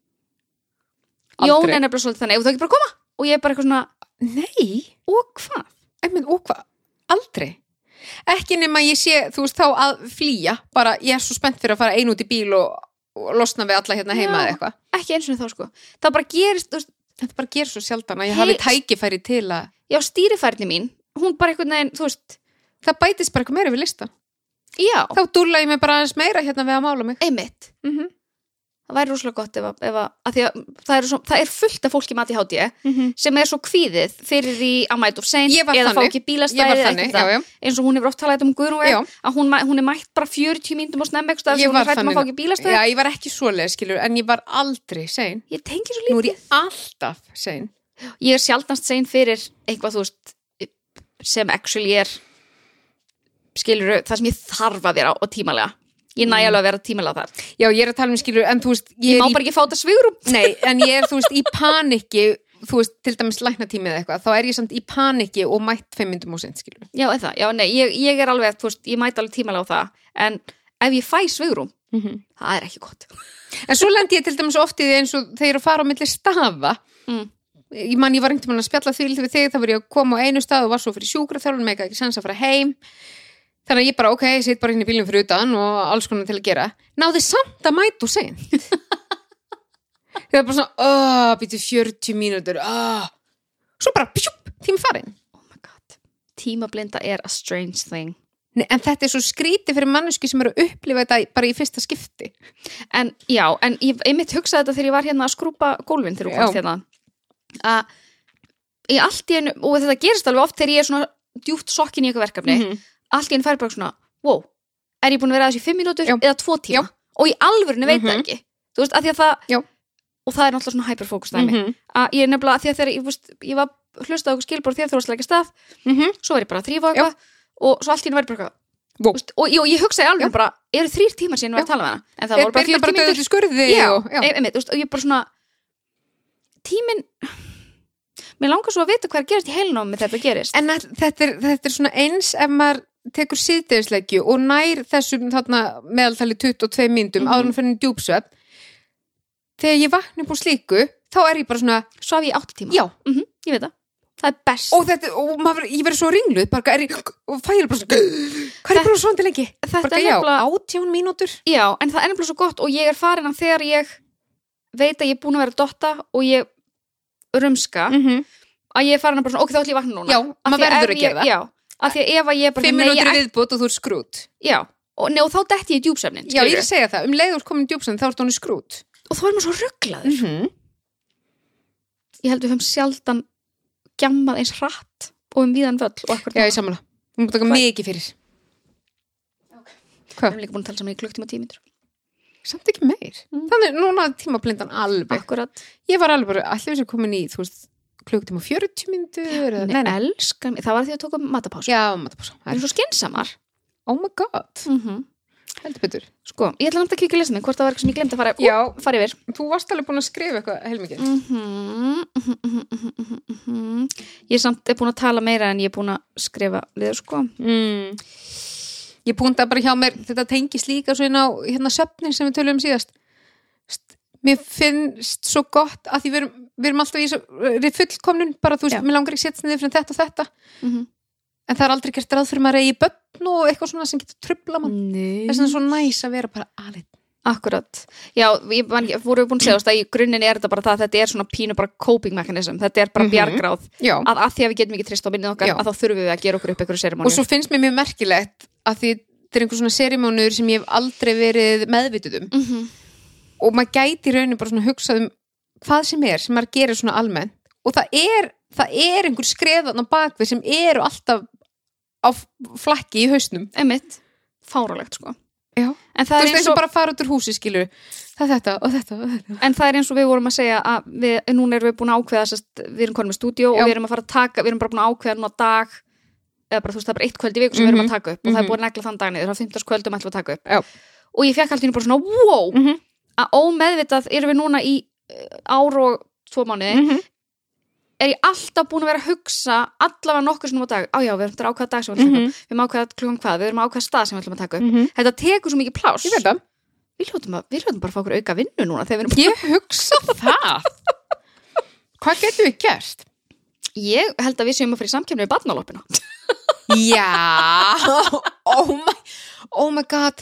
B: Jón er nefnilega svolítið þannig, ef þú ekki bara að koma og ég er bara eitthvað svona,
C: Nei,
B: og hvað?
C: einmitt og hvað? Aldrei. Ekki nema ég sé, þú veist, þá að flýja, bara ég er svo spennt fyrir að fara einu út í bíl og, og losna við alla hérna heima
B: Já.
C: eða eitthvað.
B: Ekki eins og þá sko Það bara gerist, þú veist,
C: Þetta bara ger svo sjaldan að ég
B: Hey.
C: hafi tækifæri til að
B: já stýrifærni mín hún bara eitthvað neginn, þú veist,
C: það bætist bara eitthvað meira við listan.
B: já
C: Þá dúlla ég mig bara aðeins meira hérna við að mála mig.
B: einmitt
C: Mm -hmm.
B: það væri rosalega gott ef að, ef að, að, að það, er svo, það er fullt af fólki mati hátíð sem er svo kvíðið fyrir því að mæta of sein
C: Ég var
B: eða fá
C: þannig.
B: ekki
C: Ég var
B: bílastæði
C: þannig, já, já.
B: eins og hún hefur oft talað um Guðrún
C: Já.
B: að hún, mæ- hún er mætt bara 40 mínútum og snemma eitthvað því
C: Ég
B: hún
C: var
B: er hrættum að
C: þannig.
B: fá ekki bílastæði
C: Já, ég var ekki svoleið, skilur, en ég var aldrei sein.
B: ég tengi svo
C: Nú er
B: lítið
C: ég alltaf sein.
B: ég... er sjaldnast sein fyrir eitthvað þú veist sem actually er skilur það sem ég þarf að vera á og tímalega ég næ alveg að vera tímalega þar ég,
C: Já, ég er að tala um skilur, en þú veist, ég,
B: má
C: er í,
B: bara ekki fá þetta svigurum
C: nei, en ég er, þú veist, í panikki, þú veist, til dæmis læknatímið eða eitthvað, þá er ég samt í panikki og mætt fimm myndum og sent, skilur.
B: já, eða, já, nei, ég, ég er alveg, þú veist, ég mæt alveg tímalega á það en ef ég fæ svigurum
C: Mhm.
B: það er ekki gott Oh
C: En svo lendi ég til dæmis oftið eins og þeir eru að fara á milli stafa.
B: Mm.
C: Ég man, ég var einhvern veginn að spjalla því við þig, þá var ég að koma á einu stað og var svo fyrir sjúkraþjálfun, með ekki sens að fara heim. Þannig að ég bara, ok, ég sitt bara inn í bílum fyrir utan og alls konar til að gera. Náði samt að mætu sein. Ég var bara svona, oh, býtu 40 mínútur, oh. Svo bara, pjúp, tími farin.
B: oh my god, tímablinda er a strange thing
C: Nei, en þetta er svo skrítið fyrir manneski sem eru að upplifa þetta bara í fyrsta skipti.
B: en já, en ég einmitt hugsaði þetta þegar ég var hérna að skrúpa gólfin þegar þú komst
C: Já.
B: hérna að í allt í einu, og þetta gerist alveg oft þegar ég er svona djúpt sokkin í eitthvað verkefni
C: -hmm.
B: allt í einu fær bara svona, wow er ég búin að vera að þessi fimm mínútur
C: Já.
B: eða tvo tíma
C: Já.
B: og í alvörinu veit það
C: Mhm.
B: ekki þú veist, að því að það
C: Já.
B: og það er náttúrulega svona hyperfókus dæmi
C: -hmm.
B: að ég er nefnilega, að því að þegar ég, þú veist, ég var hlustað okkur skilbór þegar þú varst að leggja af stað
C: Mm -hmm.
B: svo var ég bara að þrýfa eitthvað og svo allt í henni var ég bara
C: Vó.
B: eitthvað Vist, og, og ég hugsaði alveg bara, eru þrýr tímar síðan ég var að
C: Já.
B: tala með hana en það voru bara 40
C: bara
B: mínútur
C: döðu skurði
B: Já,
C: og, já.
B: Ein- einmitt, þú veist, og ég bara svona tíminn mér langar svo að vita hvað er að gerast í heilnámi þegar þetta gerist
C: En að- þetta er, þetta er svona eins ef maður tekur síðdegisleggju og nær þessum þarna meðaltali 22
B: Mhm.
C: myndum mm -hmm. áður en fyrir djúpsvepp þegar ég vakna upp úr slíku þá er ég bara svona,
B: Svaf ég átta tíma?
C: já,
B: Ég veit það. Það er best.
C: og þetta og maður, ég verið svo ringluð, bara er ég og færi bara svona, hvað er ég bara svona lengi
B: þetta
C: bara
B: er
C: já,
B: nefnilega-
C: átján mínútur
B: Já, en það er nefnilega svo gott og ég er farin að þegar ég veit að ég er búin að vera að dotta og ég rumska
C: -hmm.
B: að ég er farin að bara svona, ok, þá ætlum ég að vakna núna.
C: já,
B: Mhm. Af
C: maður
B: því ef
C: verður að
B: ég-
C: gera það
B: Já, af því að ef að ég bara
C: fimm
B: nei, ég
C: mínútur
B: ætl-
C: viðbútt og þú er skrút
B: Já, og, nei, og þá detti ég í djúpsefnin
C: já, ég er að segja það, um leiður komin djúpsvepp þá er það skrút
B: og þá er maður svo rugglaður
C: mm -hmm.
B: Mhm. Ég held við höfum sjaldan gjammað eins hratt og um víðan völl og akkur
C: já, ég sammála, þú mútu taka
B: Hvað-
C: mikið fyrir
B: Við erum líka búin að tala saman í klukktíma og tíu mínútur
C: samt ekki meir,
B: Mm.
C: þannig núna er tímablindan alveg
B: Akkurat,
C: Ég var alveg bara, allir við sem komin í, þú veist, klukktíma og 40 myndur
B: nei, elskar mig Það var því að tóka matapásu
C: Já, maður bara svo,
B: Það
C: það
B: er svo skinsamar
C: er- oh my god, heldur betur
B: Sko, ég ætla samt að kíkja lesnið hvort það var eitthvað sem ég glemt að fara, ú,
C: Já,
B: fara yfir
C: þú varst alveg búin að skrifa eitthvað heilmikið
B: Mhm, mhm, mhm, mhm, mhm, mhm. Ég samt er búin að tala meira en ég er búin að skrifa liður sko
C: mm. Ég púnta bara hjá mér, þetta tengis líka svo inn á hérna söfnin sem við töluðum síðast St- Mér finnst svo gott að því við erum, við erum alltaf í svo, fullkomnun, bara þú veist,
B: Já.
C: mér langar ekki setst niður fyrir þetta og þetta,
B: mm
C: en það er aldrei gert ráð fyrir maður að ég bönn og eitthvað svona sem getur trubla
B: Mm.
C: mann,
B: Nei
C: þess að það er svo næs að vera bara alveg
B: Akkurat, já, ég man ekki, voru við búin að segja þú veist, að í grunninn er þetta bara það að þetta er svona pínu bara coping mechanism, þetta er bara
C: Mhm.
B: bjargráð
C: Já,
B: að að því að við getum ekki trist á minnið okkar
C: Já.
B: að þá þurfum við að gera okkur upp einhverju
C: og
B: serimónir
C: svo finnst mér mjög merkilegt að því þetta er einhver svona serimónur sem ég hef aldrei verið meðvituð um
B: mm -hmm.
C: og maður gæti í rauninu bara svona hugsað um hvað sem er, sem maður gerir svona almennt og það er, það er einhver skreðan á bakvið sem eru alltaf á f- flakki í hausnum
B: emitt, fáralegt sko
C: Já.
B: en
C: þú
B: það,
C: veist
B: er
C: eins
B: eins
C: og
B: og,
C: bara að fara út úr húsi skilur það er þetta og þetta og þetta
B: en það er eins og við vorum að segja að við, núna erum við búin að ákveða sest, við erum konum með stúdíó og
C: Já.
B: við erum að fara að taka við erum bara búin að ákveða núna dag eða bara þú veist það er bara eitt kvöld í viku sem við erum að taka upp og það er
C: Mhm.
B: búin að negla þann dag niður, það er 15. kvöldum ætlum að taka upp
C: Já.
B: og ég fekk alltaf bara svona wow,
C: mm -hmm.
B: að ómeðvitað erum við núna í eh, ár og tvo mánuði
C: Mhm.
B: er ég alltaf búin að vera að hugsa allavega nokkur sinnum á dag, á já, við erum að ákveða dag sem við ætlum
C: Mhm.
B: að taka upp, við erum að ákveða klukkan hvað, við erum að ákveða stað sem við ætlum að taka upp þetta tekur svo mikið pláss
C: ég veit það
B: við hljóttum, að, við hljóttum bara að fá okkur auka vinnu núna þegar við erum
C: ég hugsa það hvað getum við gert?
B: ég held að við séum að fara í samkjöfni við barnalopina
C: Já, oh my, oh my god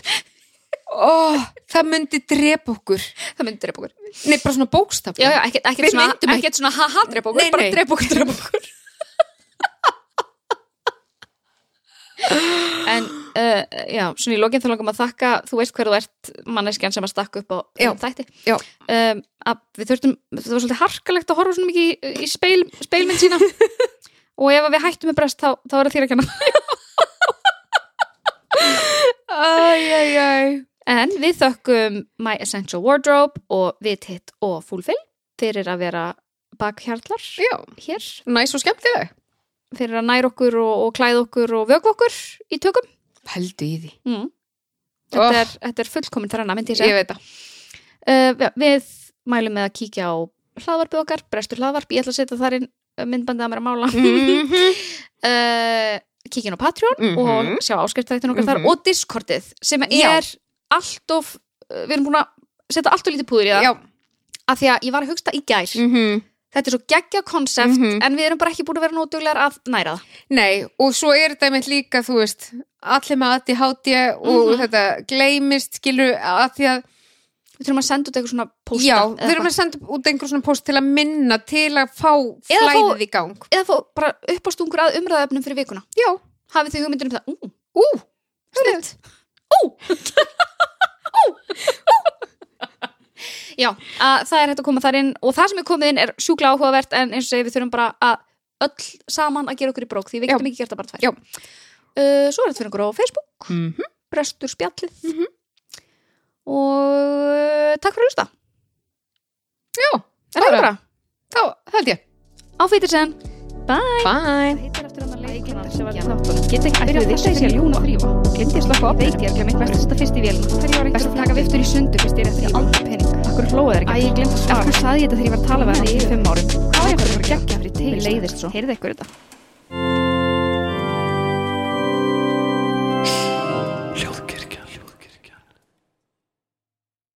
C: oh, Það myndi drepa okkur
B: [LAUGHS] það myndi drepa okkur
C: Nei, bara svona bókstaf
B: já, já, ekkert,
C: Við
B: ekkert, svona,
C: myndum ekki-
B: ekkert svona haha drepa okkur
C: Nei,
B: bara
C: nei.
B: drepa okkur, [LAUGHS] drepa okkur en uh, já, svona í lokin þá langum að þakka þú veist hver þú ert manneskjan sem að stakka upp á
C: Já,
B: þætti
C: já.
B: Um, að við þurftum, það var svolítið harkalegt að horfa svona mikið í, í speil, speilmynd sína
C: [LAUGHS]
B: og ef að við hættum með brest þá, þá er það þýra að kenna
C: Æ, æ, æ
B: En við þökkum My Essential Wardrobe og Vit Hit og Fulfill fyrir að vera bakhjarlar
C: Já,
B: hér,
C: næs og skemmtileg
B: fyrir að næra okkur og, og klæða okkur og vögg okkur í tökum.
C: Pældu í því
B: Mm. Þetta,
C: Oh.
B: er, þetta er fullkomin þarna, myndi ég
C: Ég
B: segja.
C: veit það
B: Uh, við mælum með að kíkja á hlaðvarpi okkar, brestur hlaðvarp, ég ætla að setja þar inn uh, myndbandið að mér að mála. uh, kíkja inn á Patreon
C: Mhm.
B: Mhm. og sjá áskriftættin okkar
C: Mhm.
B: þar og Discordið sem er
C: Já.
B: allt of, uh, við erum búin að setja allt of lítið púður í það
C: Já,
B: af því að ég var að hugsta í gær
C: mhm
B: þetta er svo geggja konsept
C: Mhm.
B: en við erum bara ekki búin að vera nótuglegar að næra það
C: Nei, og svo er þetta mitt líka, þú veist, allir með aðti hátja og
B: Mhm.
C: þetta gleymist, skilur, að því að
B: við þurfum að senda út eitthvað svona posta
C: Já,
B: eða,
C: við erum að
B: eitthvað.
C: senda út einhver svona post til að minna til að fá
B: Eða fá-
C: flæðið í gang
B: eða fá bara upp á stungur að umræðaefnum fyrir vikuna
C: Já,
B: hafið þið hugmyndir um það, ú,
C: ú,
B: snitt Já, að það er hægt að koma þar inn og það sem er komið inn er sjúkla áhugavert en eins og segir við þurfum bara að öll saman að gera okkur í brók því við
C: Já.
B: getum ekki gert það bara tvær
C: Já.
B: uh, Svo er þetta fyrir okkur á Facebook
C: mhm
B: brestur spjallið og uh, takk fyrir að hlusta
C: Já,
B: er það
C: bara.
B: bara
C: þá held ég.
B: á feitir sen
C: Bye.
A: heitir eftir hann að
B: leikkonan
A: leikina
B: sem
A: sem var
B: var
A: í
B: í
A: þáttunum Get ekki
B: Ætli
A: byrjað þetta
B: þetta
A: í
B: sé
A: sér ljúna frífa Glendi að slappa á Veit ég, glemir best að setja fyrst í vélina Best að taka viftur í sundu fyrst ég er að því aldrei pening Akkur hlóðu þeir ekki Æ, ég glemdi að svara Akkur saði ég þetta þegar ég var að tala við hann í fimm árum Hvað er ég bara að gegja fyrir til Mér leiðist svo Heyrðu ykkur þetta